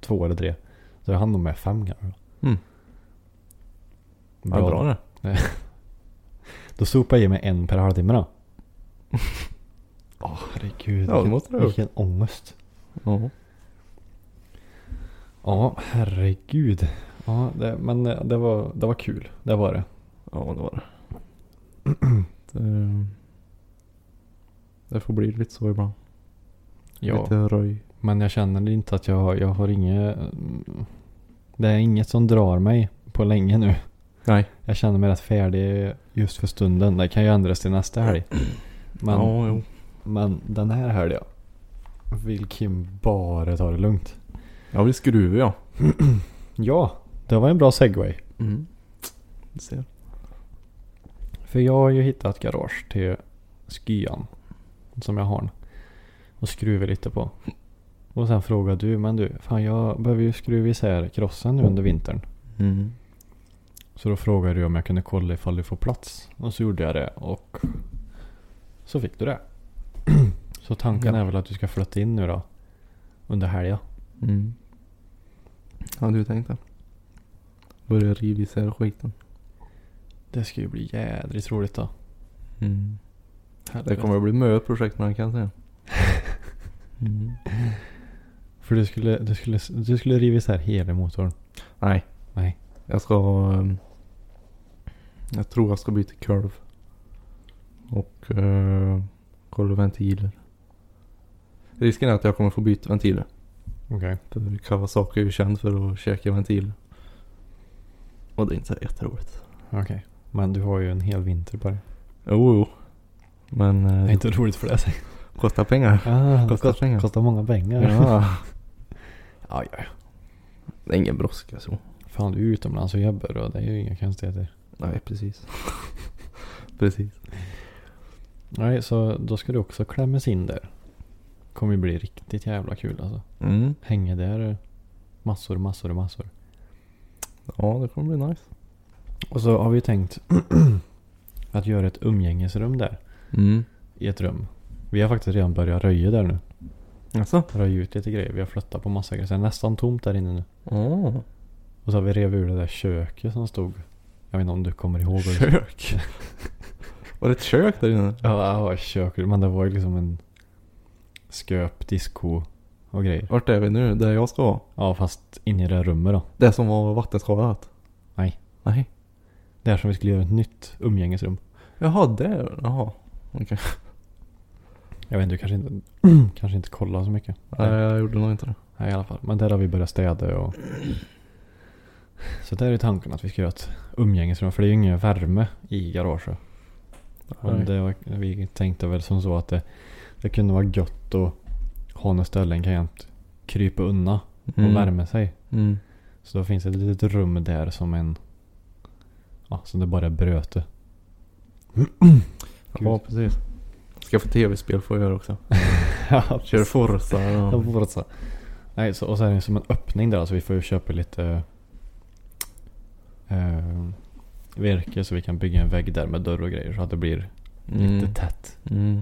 två eller tre. Så jag hann nog med fem kanske.
Mm. Ja, bra det.
Då sopade jag i mig en per halvtimme då. Åh herregud.
Ja, det
vilken-
måste du ha gjort.
Vilken ångest.
Ja.
Ja, herregud. Ja, det, men eh, det var, det var kul. Det var det.
Ja, det var det. det. Det får bli lite så ibland. Lite röj.
Men jag känner inte att jag, har- jag har inget... mm, Det är inget som drar mig på länge nu.
Nej.
Jag känner mig rätt färdig just för stunden. Det kan ju ändras till nästa helg. Men,
Ja, jo.
men den här helgen vill Kim bara ta det lugnt.
Jag vill skruva ja.
Ja, det var en bra segway.
Mm. Du ser.
För jag har ju hittat garage till skyan. Som jag har den. Och skruvar lite på. Och sen frågar du, men du, fan jag behöver ju skruva isär krossen nu under vintern.
Mm.
Så då frågade du om jag kunde kolla ifall du får plats. Och så gjorde jag det och så fick du det. Så tanken
Ja.
är väl att du ska flytta in nu då? Under helgen.
Mm. Ja, du tänkte. Börja riva isär skiten.
Det ska ju bli jädrigt roligt då.
Mm. Det kommer att bli mö projekt man kan jag säga. Mm.
För du skulle, du, skulle, du skulle riva isär hela motorn.
Nej.
Nej.
Jag ska... ehm, Jag tror jag ska byta kurv. Och eh, kolla ventiler. Risken är att jag kommer få byta ventiler.
Okej.
För Kawasaki är ju känd för att käka ventiler. Och det är inte så jätteroligt.
Okej. Men du har ju en hel vinter på dig.
Jo, jo. Men eh,
Det är inte roligt för det sig.
det kostar pengar.
Ah,
Kostar
kost-
pengar.
Kostar många pengar.
Ja.
ja, ja.
Det är ingen brådska så.
Fan du är utomlands och jobbar och det är ju inga konstigheter.
Nej, precis. precis.
Nej, så då ska du också klämmas in där. kommer ju bli riktigt jävla kul alltså.
Mm.
Hänga där massor, massor, massor.
Ja, det kommer bli nice.
Och så har vi tänkt att göra ett umgängesrum där.
Mm.
I ett rum. Vi har faktiskt redan börjat röja där nu.
Alltså?
Röja ut lite grejer. Vi har flyttat på massa grejer. Så det är nästan tomt där inne nu.
Åh.
Och så har vi revit ur det där köket som stod. Jag vet inte om du kommer ihåg. vad det-
Kök? Var det ett kök där inne?
Ja, det var köket. Men det var ju liksom en sköp, disco och grejer.
Vart är vi nu? Där jag ska vara?
Ja, fast inne i det här rummet då.
Det som var vattenskadat?
Nej.
Nej.
Där som vi skulle göra ett nytt umgängesrum.
Jaha, där. Jaha. Okej.
Jag vet inte, du kanske inte, kanske inte kollar så mycket.
Nej, jag gjorde nog inte det.
Nej, i alla fall. Men där har vi börjat städa och... Så där är tanken att vi ska göra ett umgängesrum. För det är ju ingen värme i garaget. Men
Nej.
det var, vi tänkte väl som så att det, det kunde vara gött att ha något ställe en kan jämt krypa undan och
Mm.
värma sig.
Mm.
Så då finns det ett litet rum där som en... Ja, som det bara är bröte.
Ja, precis. Ska få tv-spel får jag göra också. Kör Forza.
Ja,
Och...
Forza. Nej, så, och så är det som en öppning där. Så vi får ju köpa lite eh, virke så vi kan bygga en vägg där med dörr och grejer så att det blir
Mm.
lite tätt.
Mm.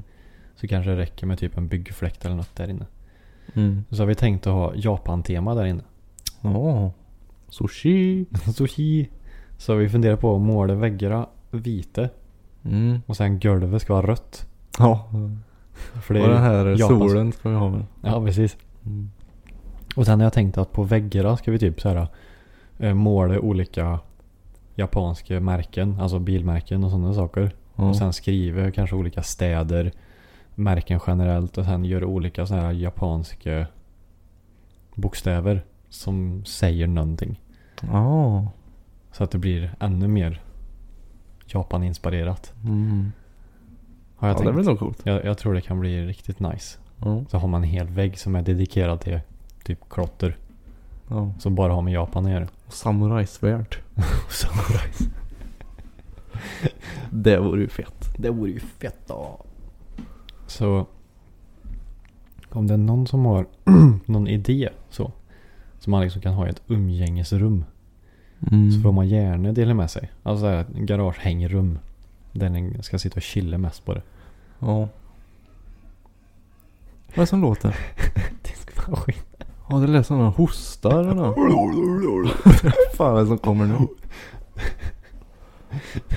Så kanske det räcker med typ en byggfläkt eller något där inne.
Mm.
Så har vi tänkt att ha Japan-tema där inne.
Ja. Sushi.
Sushi. Så vi funderar på att måla väggarna vita
Mm.
och sen golvet ska vara rött.
Ja.
För
Och den här
Japans-
solen ska vi ha väl?
Ja, precis.
Mm.
Och sen har jag tänkt att på väggarna ska vi typ så här eh, måla olika japanska märken, alltså bilmärken och sådana saker.
Ja.
Och sen skriva kanske olika städer, märken generellt och sen göra olika så här japanska bokstäver som säger någonting.
Ja.
Så att det blir ännu mer Japan-inspirerat.
Mm.
Har jag
Ja, det
tänkt.
blir nog coolt.
jag, jag tror det kan bli riktigt nice.
Ja.
Så har man en hel vägg som är dedikerad till typ klotter.
ja.
Som bara har med Japan att göra.
Samurajsvärd. Det vore ju fett.
Det vore ju fett då. Så om det är någon som har någon idé så. Som man liksom kan ha i ett umgängesrum.
Mm.
Så får man gärna dela med sig. Alltså så här, ett garagehängrum. Där den ska sitta och chilla mest på det.
Ja. Vad är det som låter? Ja, det lät som någon hostar eller något. Fan vad är det som kommer nu?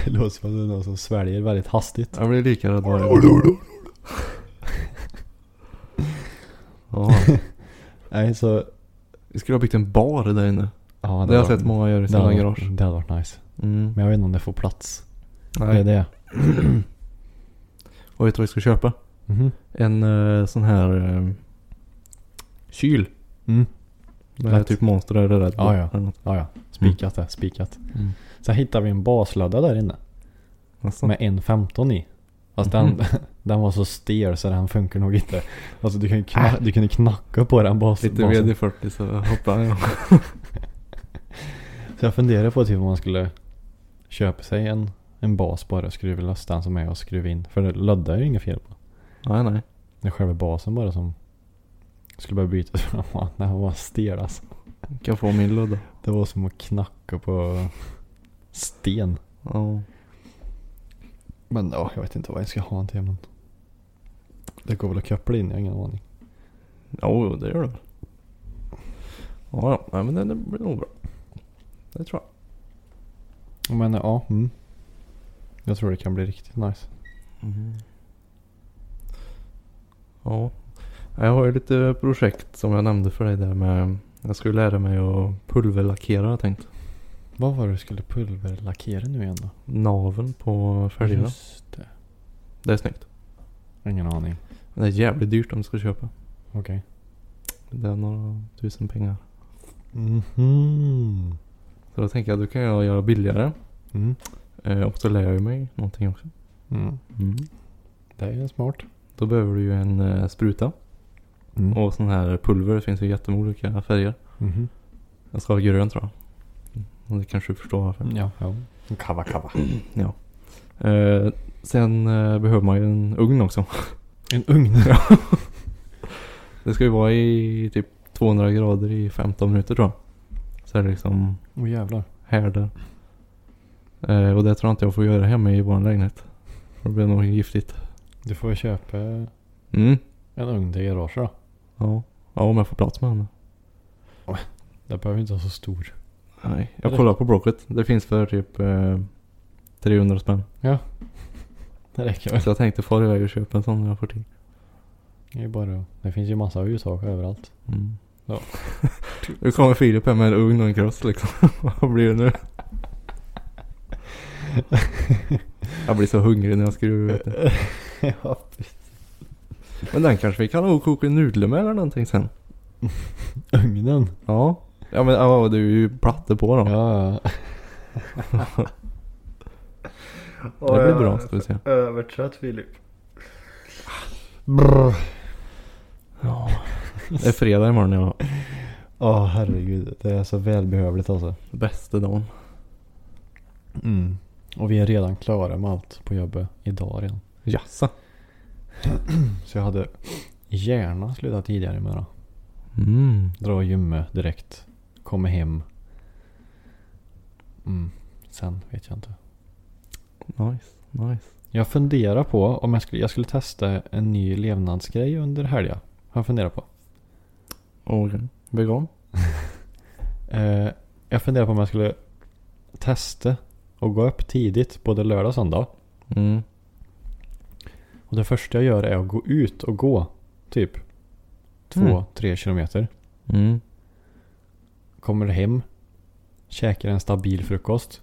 Det låter som att det är någon som sväljer väldigt hastigt.
Jag blir lika rädd varje gång. Ja,
Nej så...
vi skulle ha byggt en bar där inne.
Ja,
Det har jag sett många göra i
det
sina
hade
garage.
varit, det hade varit nice.
Mm.
Men jag vet inte om det får plats. Det är
Nej.
det.
Och vet du vad vi ska köpa? Mm.
Mhm.
En eh, sån här eh, kyl.
Mm.
Det här
Lätt.
typ monster eller rädd
Ja, ja.
Eller något.
Ja, ja. Spikat det. Spikat.
Mm.
Sen hittar vi en baslöda där inne.
Alltså.
Med Mhm. en 15 i. Fast den, den var så stel så den funkar nog inte. Alltså du kan ju kna- du kunde knacka på den bas,
Lite
basen.
VD40 så hoppar jag.
Så jag funderar på typ om man skulle köpa sig en, en bas bara och skruva loss den som är och skruva in. För det lödda är ju inget fel på.
Nej, nej.
Det är själva basen bara som skulle behöva bytas. för den var- Den var stel alltså.
Kan få min låda.
Det var som att knacka på sten.
Ja.
Men ja, jag vet inte vad jag ska ha den till men. Det går väl att koppla in, jag har ingen aning.
Jo, jo, det gör det väl. Ja, ja. Nej, men det, det blir nog bra. Det tror jag.
Men ja, mm. Jag tror det kan bli riktigt nice.
Mm-hmm. Ja. Jag har ju lite projekt som jag nämnde för dig där med. Jag skulle lära mig att pulverlackera har jag tänkt.
Vad var det du skulle pulverlackera nu igen då?
Naveln på fälgarna.
Just det.
Det är snyggt.
Ingen aning.
Men det är jävligt dyrt om du ska köpa.
Okej.
Det är några tusen pengar.
Mhm.
Så då tänker jag då kan jag göra billigare.
Mm.
Eh, och så lär jag ju mig någonting också.
Mm. Det är ju smart.
Då behöver du ju en eh, spruta.
Mm.
Och sån här pulver. Det finns ju jättemånga olika färger.
Mhm.
Jag ska ha grön tror jag. Och Det kanske du förstår varför.
Ja. ja. Kava kava.
Ja. Eh, sen eh, behöver man ju en ugn också.
En ugn.
Det ska ju vara i typ 200 grader i 15 minuter tror jag. Så är det liksom
Åh jävlar.
härdar. Eh, och det tror jag inte jag får göra hemma i vår lägenhet. För Det blir nog giftigt.
Du får köpa en
Mm.
ugn till garaget då.
Ja. ja, om jag får plats med henne.
Den behöver inte vara så stor.
Nej.
Eller?
Jag kollar på Blocket. Det finns för typ eh, 300 spänn.
Det räcker väl.
Så jag tänkte fara iväg och köpa en sån när jag får tid.
Det, är bara, det finns ju massa ljussaker överallt.
Mm.
Ja.
nu kommer Filip här med en ugn och en kross liksom. Vad blir det nu? jag blir så hungrig när jag skruvar vet du.
ja,
Men den kanske vi kan nog koka nudlar med eller någonting sen.
Ugnen?
Ja. Ja men ja, det är ju plattor på dem.
Ja, ja.
Det blir bra ska vi se.
Övertrött Filip.
Ja. Det är fredag imorgon ja.
Åh herregud. Det är så välbehövligt alltså.
Bästa dagen.
Mm. Och vi är redan klara med allt på jobbet idag redan.
Jassa.
Så jag hade gärna slutat tidigare med det.
Mm.
Dra och gymmet direkt. Komma hem. Mm. Sen vet jag inte.
Nice. Nice.
Jag funderar på om jag skulle, jag skulle testa en ny levnadsgrej under helgen. Har jag funderat på.
Okej. Vegan?
Eh, jag funderar på om jag skulle testa och gå upp tidigt både lördag och söndag.
Mm.
Och det första jag gör är att gå ut och gå typ två,
Mm.
tre kilometer.
Mm.
Kommer hem, käkar en stabil frukost.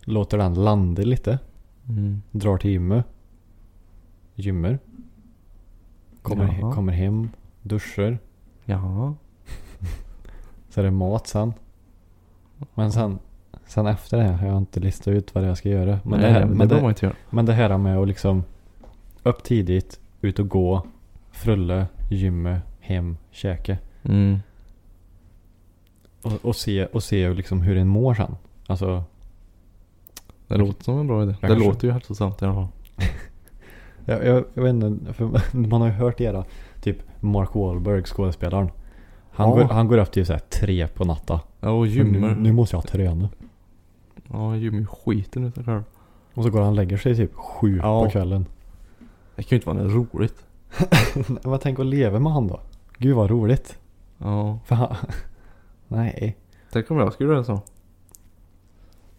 Låter den landa lite.
Mm.
Drar till gymmet. Gymmer. Kommer, he-
Jaha.
kommer hem, duschar.
Ja.
Så är det mat sen. Men sen, sen efter det här har jag inte listat ut vad jag ska göra. Men,
Nej,
det, här,
men det
men,
behöver man
det,
inte göra.
men det här med att liksom upp tidigt, ut och gå, frulle, gymmet, hem, käke.
Mm.
Och, och se, och se liksom hur en mår sen. Alltså,
Det låter som en bra idé.
Jag
det
kanske-
låter ju hälsosamt i alla fall.
jag, jag, jag vet inte, för man har ju hört era, typ Mark Wahlberg, skådespelaren. Han,
Ja.
går, han går upp till såhär tre på natta.
Ja och
Nu,
gymmer.
nu måste jag träna.
Ja gymmer skiten ut sig själv.
Och så går han och lägger sig typ sju
Ja.
på kvällen.
Det kan ju inte vara något roligt.
Men tänk att leva med han då. Gud vad roligt.
Ja.
För han... Nej.
Tänk om jag skulle göra så.
Jag,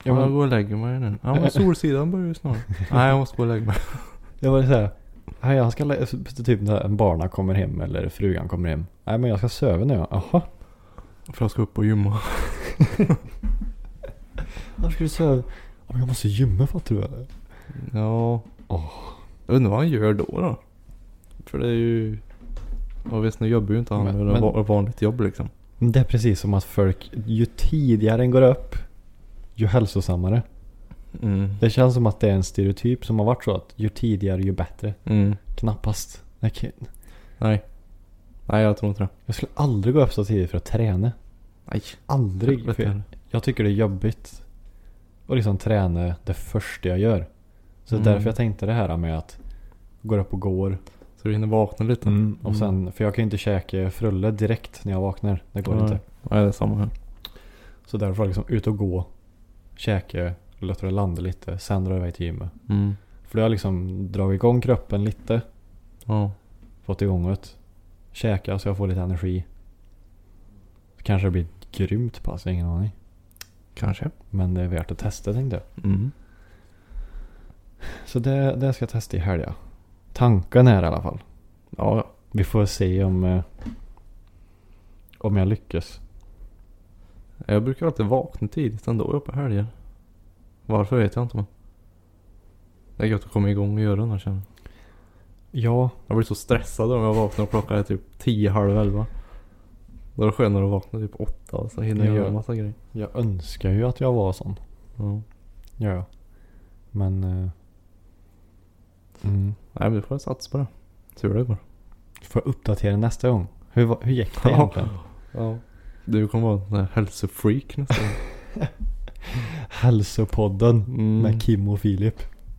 Ja, jag
var,
går och lägger mig nu. Ja men solsidan börjar ju snart. Nej jag måste gå och lägga mig.
jag var såhär. Nej jag ska lä- typ när barna kommer hem eller frugan kommer hem. Nej men jag ska söva nu. Jaha.
För jag ska upp och gymma.
Varför ska du söva? Ja, men Jag måste gymma fattar du eller?
Ja.
Åh.
Jag undrar vad han gör då då. För det är ju... Ja visst nu jobbar ju inte han
Men-
med ett
men-
va- vanligt jobb liksom.
Men Det är precis som att folk, ju tidigare en går upp, ju hälsosammare.
Mm.
Det känns som att det är en stereotyp som har varit så att ju tidigare ju bättre.
Mm.
Knappast. Jag, kan,
Nej. Nej jag tror inte det.
jag skulle aldrig gå upp så tidigt för att träna.
Nej.
Aldrig.
Helvete.
För jag, jag tycker det är jobbigt att liksom träna det första jag gör. Så
Mm.
därför jag tänkte det här med att gå upp och går.
Så du hinner vakna lite.
Och sen, för jag kan ju inte käka frulle direkt när jag vaknar. Det går
Nej.
inte.
Nej det är samma här.
Så därför var det liksom ut och gå, käka, låta det landa lite, sen dra iväg till gymmet.
Mm.
För det har liksom dragit igång kroppen lite,
Ja.
fått igång det. Käka så jag får lite energi. Kanske det blir ett grymt pass, jag har ingen aning.
Kanske.
Men det är värt att testa tänkte jag.
Mm.
Så det, det ska jag testa i helgen. Tanken är i alla fall.
Ja ja.
Vi får se om, eh, om jag lyckas.
Jag brukar alltid vakna tidigt ändå på helger. Varför vet jag inte men. Det är gött att komma igång och göra något känner jag.
Ja,
Jag blir så stressad om jag vaknar och klockan är typ 10, halv elva. Då är det skönare att vakna typ åtta så hinner jag
Ja.
göra en massa grejer.
jag önskar ju att jag var sån.
Ja.
Ja, ja. Men... eh, Mm.
Nej men du får jag satsa på det. Tur det går.
Får jag uppdatera nästa gång? Hur, va- hur gick det
Ja.
egentligen?
Ja. Du kommer vara en sån här hälsofreak nästan.
Hälsopodden
Mm.
med Kim och Filip.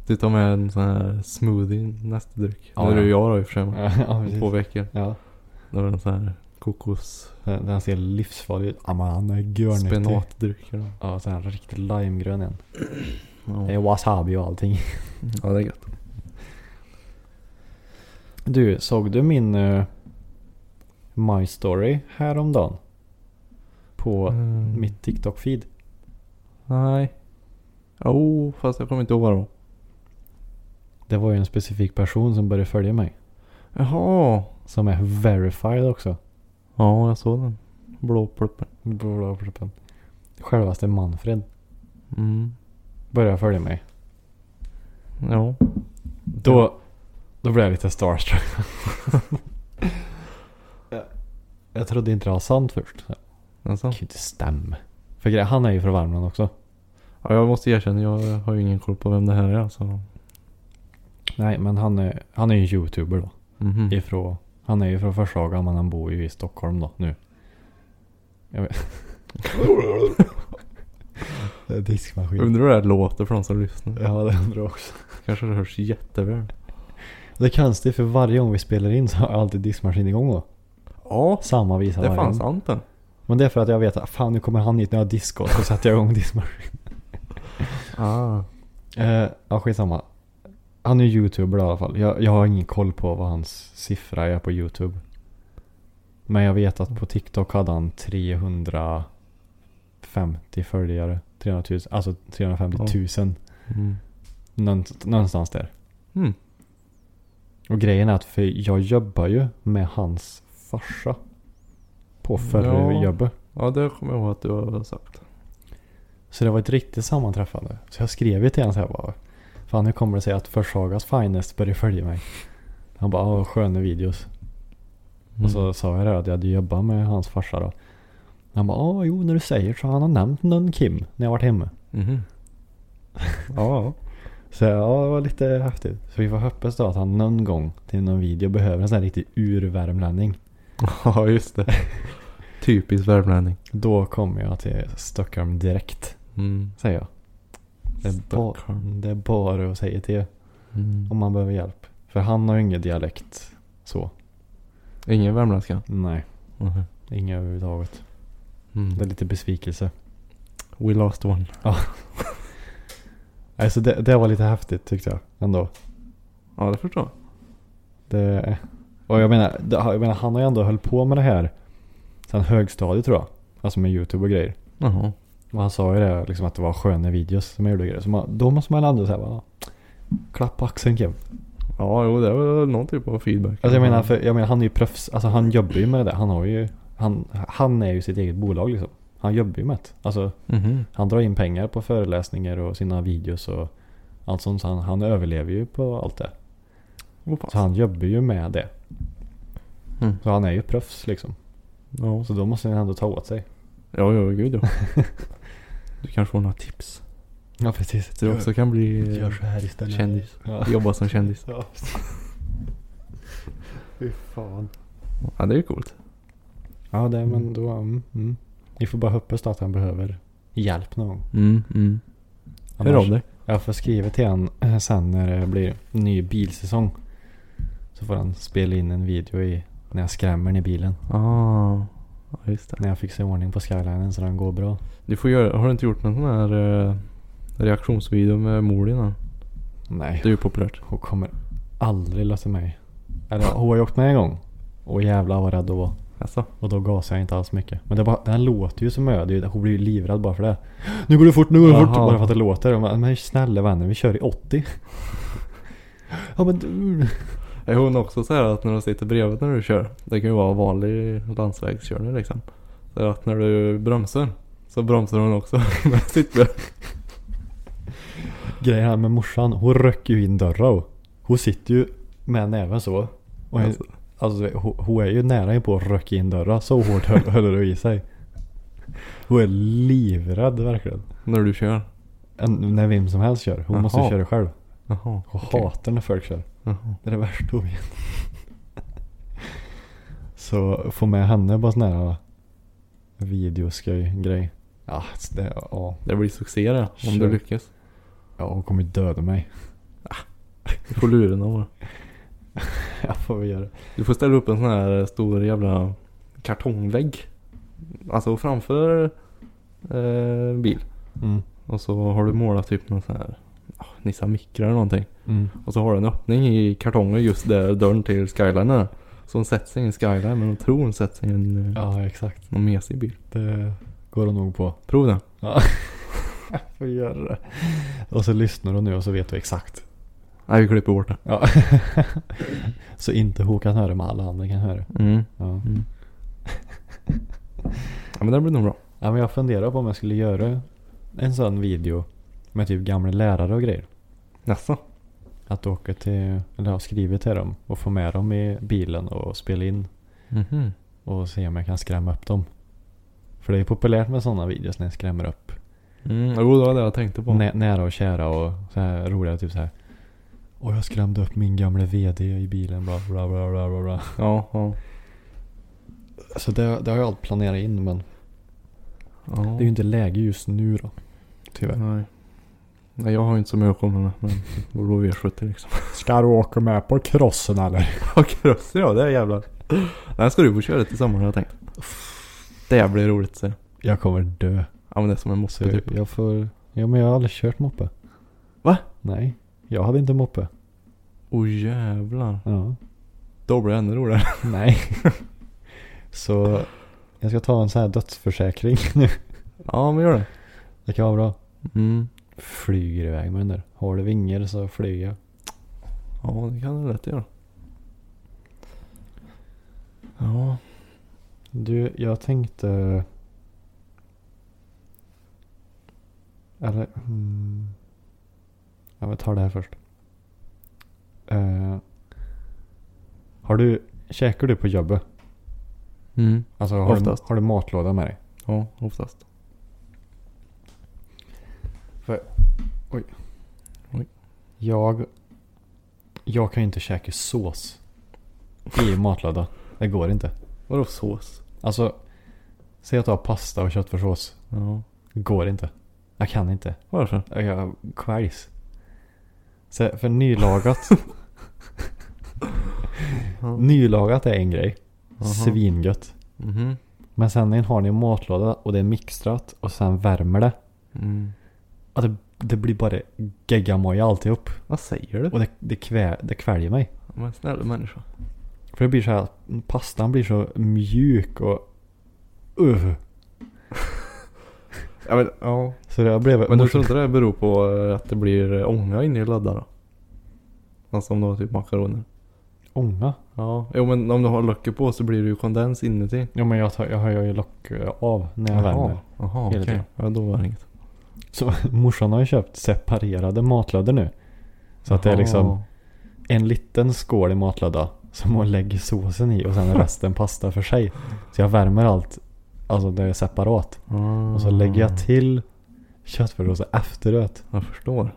Du tar med en sån här smoothie nästa dryck.
Ja,
det är
ja.
ju jag då i och för sig. men.
ja,
Om Två veckor.
Ja.
Det var en sån här kokos
Den den ser livsfarlig ut. Ja, men han är görnyttig.
spenatdryck. eller nåt.
Ja, så här riktigt limegrön en. Det är
Ja.
wasabi och allting.
ja, det är gött.
Du, såg du min eh, My Story häromdagen? På
Mm.
mitt TikTok-feed.
Nej. Oh, fast jag kommer inte ihåg vad det var.
Det var ju en specifik person som började följa mig.
Jaha.
Som är verified också.
Ja, jag såg den. Blå pluppen.
Blå pluppen. Självaste Manfred
Mm.
började följa mig.
Ja.
Då, då blev jag lite starstruck. jag trodde inte det var sant först. Det
Alltså.
kan ju inte stämma. För grejen- han är ju från Värmland också.
Ja, jag måste erkänna, jag har ju ingen koll på vem det här är alltså.
Nej, men han är, han är ju en youtuber då.
Mhm.
Ifrån, han är ju från Forshaga men han bor ju i Stockholm då nu. Jag vet. det är diskmaskin.
Undrar hur det här låter för de som lyssnar.
Ja, det undrar jag också.
Kanske det hörs jätteväl.
Det är konstigt för varje gång vi spelar in så har jag alltid diskmaskinen igång då.
Ja,
Samma visa
det är
varje
fan
gång.
sant det.
Men det är för att jag vet att fan nu kommer han hit när jag diskar så sätter jag igång diskmaskinen.
Ah.
Eh, ja skitsamma. Han är youtuber i alla fall. Jag, jag har ingen koll på vad hans siffra är på youtube. Men jag vet att på TikTok hade han 350 följare. 300 000, alltså 350 000.
Mm.
Någonst- Någonstans där.
Mm.
Och grejen är att för jag jobbar ju med hans farsa. På förra
Ja.
jobbet.
Ja, det kommer jag ihåg att du har sagt.
Så det var ett riktigt sammanträffande. Så jag skrev ju till honom så här bara. Fan hur kommer det sig att Forshagas finest börjar följa mig? Han bara, "Ah, vad sköna videos. Och så
Mm.
sa jag det att jag hade jobbat med hans farsa då. Han bara, ah jo när du säger så. Han har nämnt någon Kim när jag varit hemma.
Mhm.
Ja. Så jag, ja, det var lite häftigt. Så vi får hoppas då att han någon gång till någon video behöver en sån här riktig urvärmlänning.
Ja, just det. Typisk värmlänning.
Då kommer jag till Stockholm direkt,
Mm.
säger jag. Det är, ba-
Stockholm.
det är bara att säga till.
Mm.
Om man behöver hjälp. För han har ju ingen dialekt så.
Ingen värmländska?
Nej,
Mhm.
inga överhuvudtaget.
Mm.
Det är lite besvikelse.
We lost one.
Alltså det, det var lite häftigt tyckte jag ändå.
Ja, det förstår jag.
Det, och jag menar, det, jag menar, han har ju ändå höll på med det här sen högstadiet tror jag. Alltså med YouTube och grejer.
Jaha.
Och han sa ju det liksom att det var sköna videos som jag gjorde och grejer. Så man, då måste man ändå säga bara, klapp på axeln Kim.
Ja, jo, det är väl någon typ av feedback.
Alltså jag menar, för, jag menar han är ju proffs. Alltså han jobbar ju med det där. Han har ju, han, han är ju sitt eget bolag liksom. Han jobbar ju med det. Alltså
Mhm.
Han drar in pengar på föreläsningar och sina videos och allt sånt. Så han, han överlever ju på allt det.
Åh, fan.
Så han jobbar ju med det.
Mm.
Så han är ju proffs liksom.
Ja,
Så då måste han ändå ta åt sig.
ja, ja, gud ja. Du kanske får några tips.
Ja precis.
Så du också kan bli
här
kändis.
Ja.
Jobba som kändis.
Ja. Fy fan.
Ja, det är ju coolt.
Ja det, men då... Mm, mm. Vi får bara hoppas då att han behöver hjälp någon gång.
Mm, mm. Hör av dig.
Jag får skriva till han eh, sen när det blir ny bilsäsong. Så får han spela in en video i när jag skrämmer den i bilen.
Ah, ja, just det.
När jag fixar i ordning på skylinen så den går bra.
Du får göra, har du inte gjort någon sån här eh, reaktionsvideo med mor innan?
Nej,
Det är ju populärt.
hon kommer aldrig låta mig. Eller hon har ju åkt med en gång. Och jävlar vad rädd hon var.
Alltså.
Och då gasade jag inte alls mycket. Men det bara, den här låter ju som ö. Det är ju- Hon blir ju livrädd bara för det. Nu går det fort, nu går det
Jaha.
fort. Bara för att det låter. Och man, men snälla vänner, vi kör i 80. ja men du.
Är hon också så här att när hon sitter bredvid när du kör. Det kan ju vara vanlig landsvägskörning liksom. Så är det att när du bromsar. Så bromsar hon också med sitt ben.
Grejen här med morsan, hon röcker ju in dörrar. och Hon sitter ju med näven så. Och en,
Alltså.
alltså. hon, hon är ju nära på att röcka in dörrar. Så hårt höll, höll det i sig. Hon är livrädd verkligen.
När du kör.
En, när vem som helst kör. Hon måste
Jaha.
köra själv.
Jaha.
Hon
okej.
hatar när folk kör.
Jaha.
Det är det värsta hon vet. Så få med henne på sån här videosköj-grej. Ja, det, ja.
Det blir succé det. Om
Kör.
du lyckas.
ja, hon kommer döda mig.
Du får luren av det.
jag får väl göra det.
Du får ställa upp en sån här stor jävla kartongvägg. Alltså framför eh, bil.
Mm.
Och så har du målat typ någon sån här ah, Nissan Micra eller någonting.
Mm.
Och så har du en öppning i kartongen just där dörren till skyline är. Så hon sätter sig i en skyline men hon tror hon sätter sig i en ja.
Ja, exakt.
någon mesig bil.
Det går hon nog på.
Prov den.
Ja. jag får göra det. Och så lyssnar hon nu och så vet vi exakt.
Nej vi klipper bort det.
Ja. så inte hon kan höra men alla andra kan höra.
Mm.
Ja.
Ja men det blir nog bra.
Ja, men jag funderar på om jag skulle göra en sån video med typ gamla lärare och grejer.
Nästa.
Att åka till, eller ha skrivit till dem och få med dem i bilen och spela in
Mhm.
och se om jag kan skrämma upp dem. För det är populärt med sådana videos när jag skrämmer upp
Mm, jo det var det jag tänkte på.
nä- nära och kära och så här roliga typ så här. Och jag skrämde upp min gamla VD i bilen bla bla bla bla bla. bla.
Ja, ja.
Så Alltså, det, det har jag allt planerat in men
ja.
det är ju inte läge just nu då. Tyvärr.
Nej. Nej jag har ju inte så mycket att komma med. Men Volvo V70 liksom.
Ska du åka med på krossen eller?
Ja krossar jag det är jävlar. Den ska du få köra till sommaren har jag tänkt. Det blir roligt så.
Jag kommer dö.
Ja men det är som en
Så
moppe
jag,
typ.
jag får... Ja men jag har aldrig kört moppe.
Va?
Nej. Jag hade inte moppe.
Åh jävlar.
Ja.
Då blir det ännu roligare.
Nej. så jag ska ta en sån här dödsförsäkring nu.
Ja men gör det.
Det kan vara bra.
Mm.
Flyger iväg med den där. Har du vingar så flyger jag.
Ja det kan du lätt göra. Ja.
Du, jag tänkte... Eller... Mm, ja, men tar det här först. Eh, har du... Käkar du på jobbet?
Mm.
Alltså har du,
Oftast.
har du matlåda med dig?
Ja oftast.
Jag, jag kan ju inte käka sås i matlåda. Det går inte.
Vadå sås?
Alltså, säg att du har pasta och köttfärssås.
Ja.
Går inte. Jag kan inte.
Varför?
Jag kväljs. Så för nylagat. nylagat är en grej. Svingött.
Mhm.
Men sen när ni har ni en matlåda och det är mixtrat och sen värmer det.
Mm.
Ja, det, det blir bara geggamoja alltihop.
Vad säger du?
Och det, det, kvä, det kväljer mig.
Men snälla människa.
För det blir så här, pastan blir så mjuk och... Uh.
Ja men ja.
Så jag blev...
Men du tror inte det beror på eh, att det blir eh, ånga inne i laddarna? Alltså om du har typ makaroner.
Ånga?
Ja, jo men om du har locket på så blir det ju kondens inuti.
Jo men jag, tar, jag har ju lock eh, av när jag värmer.
Jaha, okej.
Hela tiden.
Ja, då var det inget.
Så morsan har ju köpt separerade matlödor nu. Så att det är liksom en liten skål i matlöda som hon lägger såsen i och sen resten pasta för sig. Så jag värmer allt, alltså det är separat.
Ah,
Och så lägger jag till köttfärssåsen efteråt.
Jag förstår.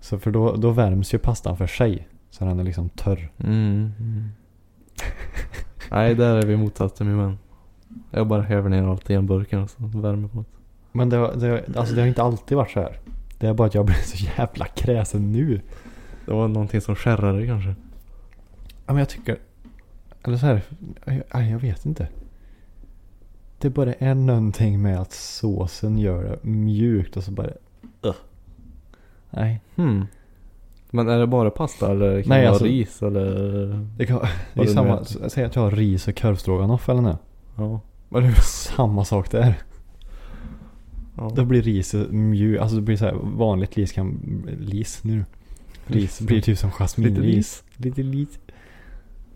Så för då, då värms ju pastan för sig. Så den är liksom törr.
Mm. Nej, där är vi motsatsen min vän. Jag bara häver ner allt i en burken och så värmer på det.
Men det, har- det, har- alltså det har inte alltid varit så här. Det är bara att jag blir så jävla kräsen nu.
Det var någonting som skärrade kanske.
Ja men jag tycker... Eller så här, jag, jag- jag vet inte. Det bara är någonting med att såsen gör det mjukt och så bara... Ugh. Nej.
Hmm. Men är det bara pasta eller kan
Nej,
det vara
alltså-
ris eller?
Det, kan, det är
Vad
ju
du nu
samma...
äter.
Säg att jag har ris och korvstroganoff eller nu.
Ja.
Men det är väl samma sak där.
ja.
Då blir riset mjukt. Alltså det blir så här vanligt ris kan... Lis nu. Ris blir typ som jasminris.
Lite ris.
Lite lis.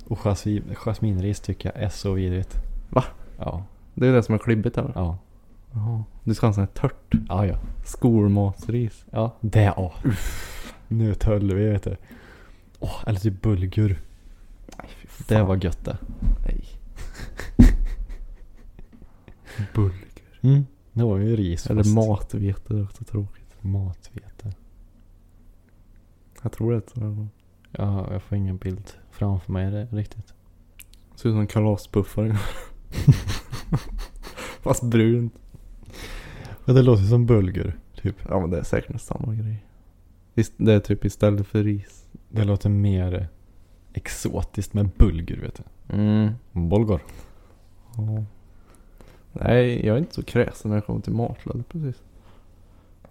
Och jasmi- jasminris tycker jag är så vidrigt.
Va?
Ja.
Det är det som är klibbigt här.
Ja.
Jaha. Du ska ha en sån här tört
Ja, ja.
skolmatsris.
Ja. Det, åh. Nu töll vi vet du. Åh, eller typ bulgur. Det var gött det.
Nej. Bulgur.
Mm. Det var ju ris.
Eller
fast
matvete, det är också tråkigt.
Matvete.
Jag tror det är så.
Ja, jag får ingen bild framför mig det- riktigt.
Ser ut som en kalaspuffare. Fast brunt.
Men det låter som bulgur. Typ.
Ja men det är säkert samma grej. Ist- Det är typ istället för ris.
Det låter mer exotiskt med bulgur vet du.
Mm.
Bulgur.
Ja. Nej, jag är inte så kräsen när det kommer till matlådor precis.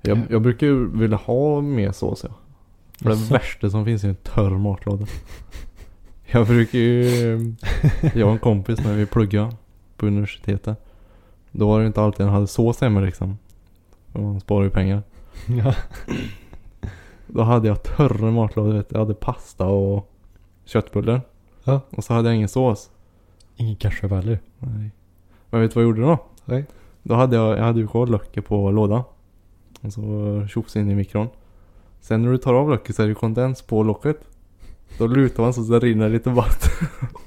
Jag,
Ja.
jag brukar ju vilja ha mer sås ja. För det
Jaså?
värsta som finns är en törr matlåda. Jag brukar ju... Jag och en kompis när vi pluggade på universitetet. Då var det inte alltid han hade sås hemma liksom. För man sparar ju pengar.
Ja.
Då hade jag törre matlådor. vet du. Jag hade pasta och köttbullar.
Ja.
Och så hade jag ingen sås.
Ingen cashew heller.
Nej. Men vet du vad jag gjorde då?
Nej.
Då hade jag, jag hade ju kvar löken på lådan. Och så tjofs in i mikron. Sen när du tar av löken så är det ju kondens på locket. Då lutar man så att det rinner lite vatten.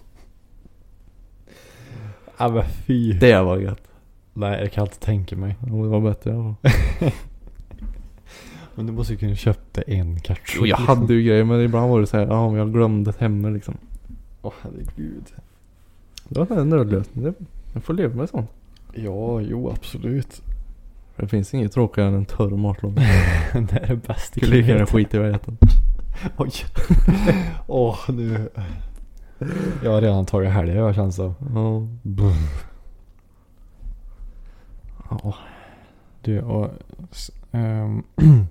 Ja men fy.
Det var gött.
Nej jag kan inte tänka mig.
Ja, Det var bättre i alla fall.
Men du måste ju kunna köpa en cashew.
Jo, jag hade ju grejer men ibland var det så här, ja men jag glömde det hemma liksom.
Åh herregud.
Det var en nödlösning. Det- Jag får leva med sånt.
Ja, jo absolut.
För det finns inget tråkigare än en törr matlåda.
det är det bästa
Skulle lika gärna skita i vad jag äter.
Oj. Åh nu. Jag har redan tagit helger jag känns som.
Ja. Ja.
Du och... s- ehm,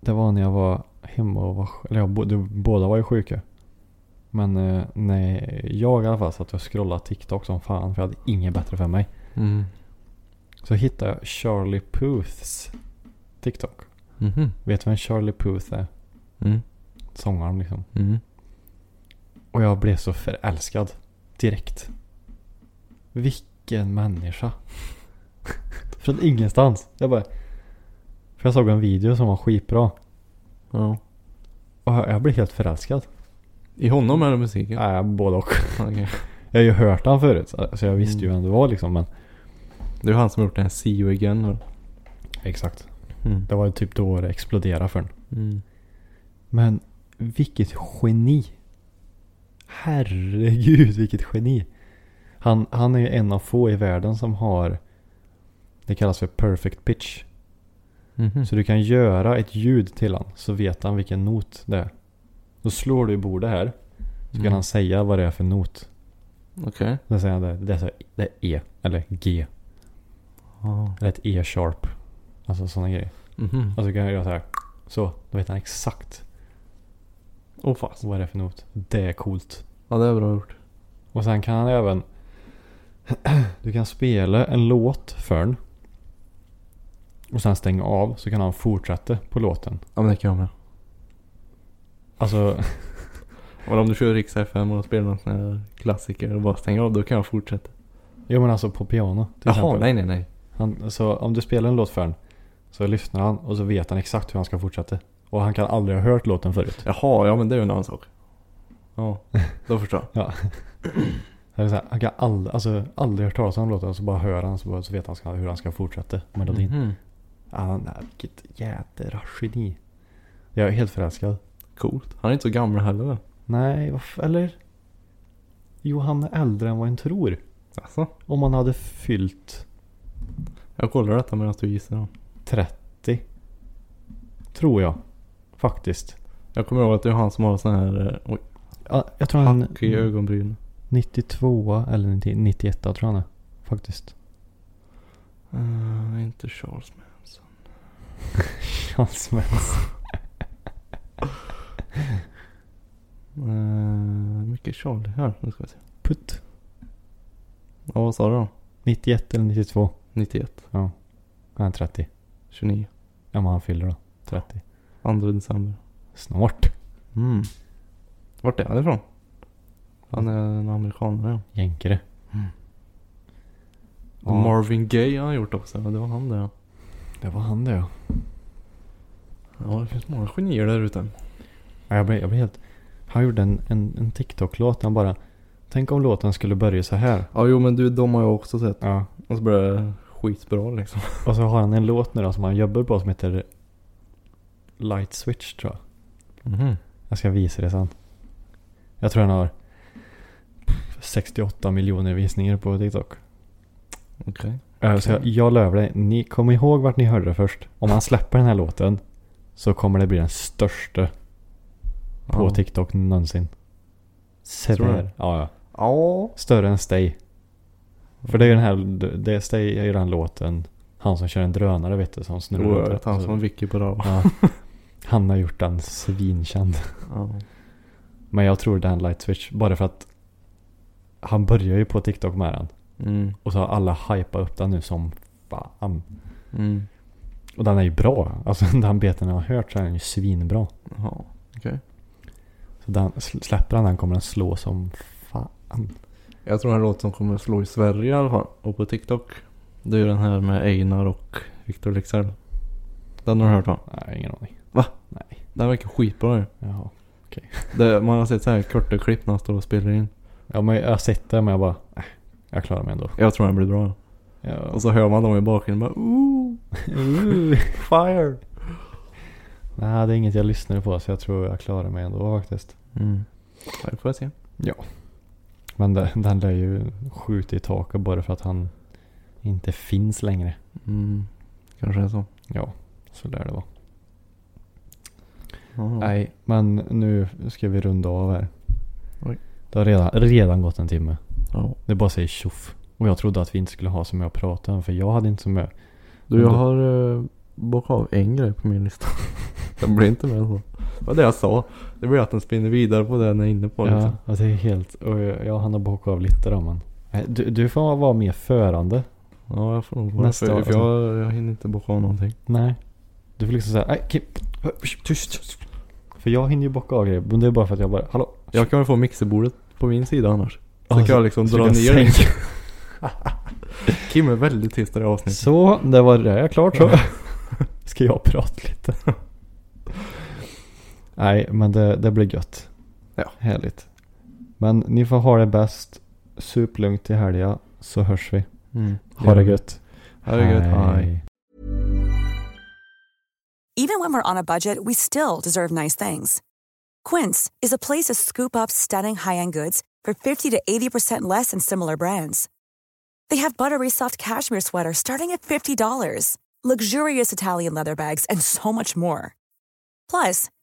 det var när jag var hemma och var sj- Eller jag, bo- du, båda var ju sjuka. Men eh, nej, jag i alla fall satt och scrollade TikTok som fan för jag hade inget bättre för mig.
Mm.
Så hittade jag Charlie Puths TikTok.
Mhm.
Vet du vem Charlie Puth är?
Mm.
Sångaren liksom.
Mm.
Och jag blev så förälskad. Direkt. Vilken människa. Från ingenstans. Jag bara... För jag såg en video som var skitbra.
Ja.
Och jag jag blev helt förälskad.
I honom eller musiken?
Nej, både och.
Okej.
Jag har ju hört han förut. Så jag visste ju
Mm.
vem det var liksom. Men...
Det är han som har gjort den här See You Again va?
Exakt.
Mm.
Det var ju typ då det exploderade för en. Men vilket geni. Herregud vilket geni. Han, han är ju en av få i världen som har det kallas för perfect pitch.
Mhm.
Så du kan göra ett ljud till han så vet han vilken not det är. Då slår du i bordet här så kan
Mm.
han säga vad det är för not.
Okej.
Då säger han det, det, är, så här, det är E eller G
Ja.
eller ett E-sharp. Alltså sådana grejer.
Mhm.
Och så kan jag göra så här. Så, då vet han exakt
Åh fast.
vad det är för not. Det är coolt.
Ja det är bra gjort.
Och sen kan han även... Du kan spela en låt för den. Och sen stänga av så kan han fortsätta på låten.
Ja men det kan jag med.
Alltså,
Men om du kör Rix FM och spelar någon sån här klassiker och bara stänger av då kan jag fortsätta.
jo men alltså på piano till
Jaha,
exempel.
nej nej nej.
Han, så om du spelar en låt för den så lyssnar han och så vet han exakt hur han ska fortsätta. Och han kan aldrig ha hört låten förut.
Jaha, ja men det är ju en annan sak. Ja, då förstår jag.
Han, är så här, han kan aldrig, alltså, aldrig hört talas om låten så bara hör han så, bara, så vet han ska, hur han ska fortsätta melodin.
Mhm.
Han, nej, vilket jädra geni. Jag är helt förälskad.
Coolt. Han är inte så gammal heller väl?
Nej, varf- eller? Jo, han är äldre än vad en tror.
Alltså.
Om han hade fyllt
Jag kollar detta medan du gissar. då.
30. Tror jag. Faktiskt.
Jag kommer ihåg att det är han som har sån här eh, oj,
Ja, Jag tror han
hack i ögonbrynen.
92 eller 90 91 tror jag han är. Faktiskt.
Eh, inte Charles Manson.
Hans Manson.
Uh, mycket Charlie här. Nu ska vi se.
Putt.
Ja, vad sa du då?
91 eller 92.
91,
Han är 30.
29,
Ja, men han fyller då. 30.
2 december.
Snart.
Mm. Vart är han ifrån? Han är en amerikanare.
Jänkare.
Ja.
Ja.
Marvin Gaye har han gjort också. Det var han det ja.
Det var han det ja.
Ja, det finns många genier där ute.
Ja, jag, blev, jag blev helt... Han gjorde en, en, en TikTok-låt. Han bara... Tänk om låten skulle börja så här.
Ja, jo men du, de har jag också sett.
Ja.
Och så blir det skitbra liksom.
Och så har han en låt nu då som han jobbar på som heter Light Switch tror jag.
Mhm.
Jag ska visa det sen. Jag tror han har 68 miljoner visningar på TikTok.
Okej.
Eh, Så jag, jag lovar dig, ni kom ihåg vart ni hörde det först. Om han släpper den här låten så kommer det bli den största på
Ja.
TikTok någonsin. Se
Tror du?
där. Ja, ja.
Ja.
Större än Stay. För det är ju den här, det är Stay är ju den låten, han som kör en drönare vet du, som snurrar runt.
Oerhört. Han som Vicky på rad.
ja. Han har gjort den svinkänd.
Ja.
Men jag tror den Light Switch, bara för att han börjar ju på TikTok med den.
Mm.
Och så har alla hypat upp den nu som fan.
Mm.
Och den är ju bra. Alltså den beten jag har hört så är den ju svinbra.
Ja. Okej.
Så den, sl- släpper han den kommer den slå som fan.
Jag tror en låt som kommer slå i Sverige i alla fall. Och på TikTok. Det är ju den här med Einar och Victor Leksell. Den har du hört va?
Nej, ingen aning.
Den verkar skitbra ju.
Jaha.
Det, man har sett så här korta klipp när han står och spelar in.
Ja men jag har sett det men jag bara, äh, jag klarar mig ändå.
Jag tror den blir bra.
Jag,
Och så hör man dem i bakgrunden bara "Oh." ooh, fire.
nej det är inget jag lyssnar på så jag tror jag klarar mig ändå faktiskt.
Mm. Ja, det får jag se.
Men den, den lär ju skjuta i taket bara för att han inte finns längre.
Mm. Kanske är så.
Ja, så lär det vara.
Ja, ja.
Nej, men nu ska vi runda av här.
Oj.
Det har redan, redan gått en timme.
Ja.
Det bara säger tjoff. Och jag trodde att vi inte skulle ha så mycket att prata om för jag hade inte så mycket.
Du, jag har uh, bockat av en grej på min lista. den blir inte mer än så. Det var det jag sa. Det blir att den spinner vidare på det den är inne på.
Ja,
Liksom.
ja, det är helt... Och jag, jag hann bocka av lite då men. Nej, Du, du får vara mer förande.
ja, jag får nog vara
Nästa
för,
alltså.
för jag, jag hinner inte bocka av någonting.
Nej. Du får liksom säga nej Kim, tyst. För jag hinner ju bocka av grejer. Men det är bara för att jag bara, hallå?
Jag kan väl få mixerbordet på min sida annars. Så
Ja,
kan jag liksom
så
dra
kan
ner
jag
den.
sänka.
Kim är väldigt tyst i det här avsnittet.
Så, det var det. Jag är klart så. Ska jag prata lite? Nej, men det, det blir gött.
Ja.
Härligt. Men ni får ha det bäst. Sup lugnt i helga så hörs vi.
Mm.
Ha det gött.
Ha det gött. Hej.
Even when we're on a budget, we still deserve nice things. Quince is a place to scoop up stunning high-end goods for 50 to 80% less than similar brands. They have buttery soft cashmere sweaters starting at $50, luxurious Italian leather bags, and so much more. Plus,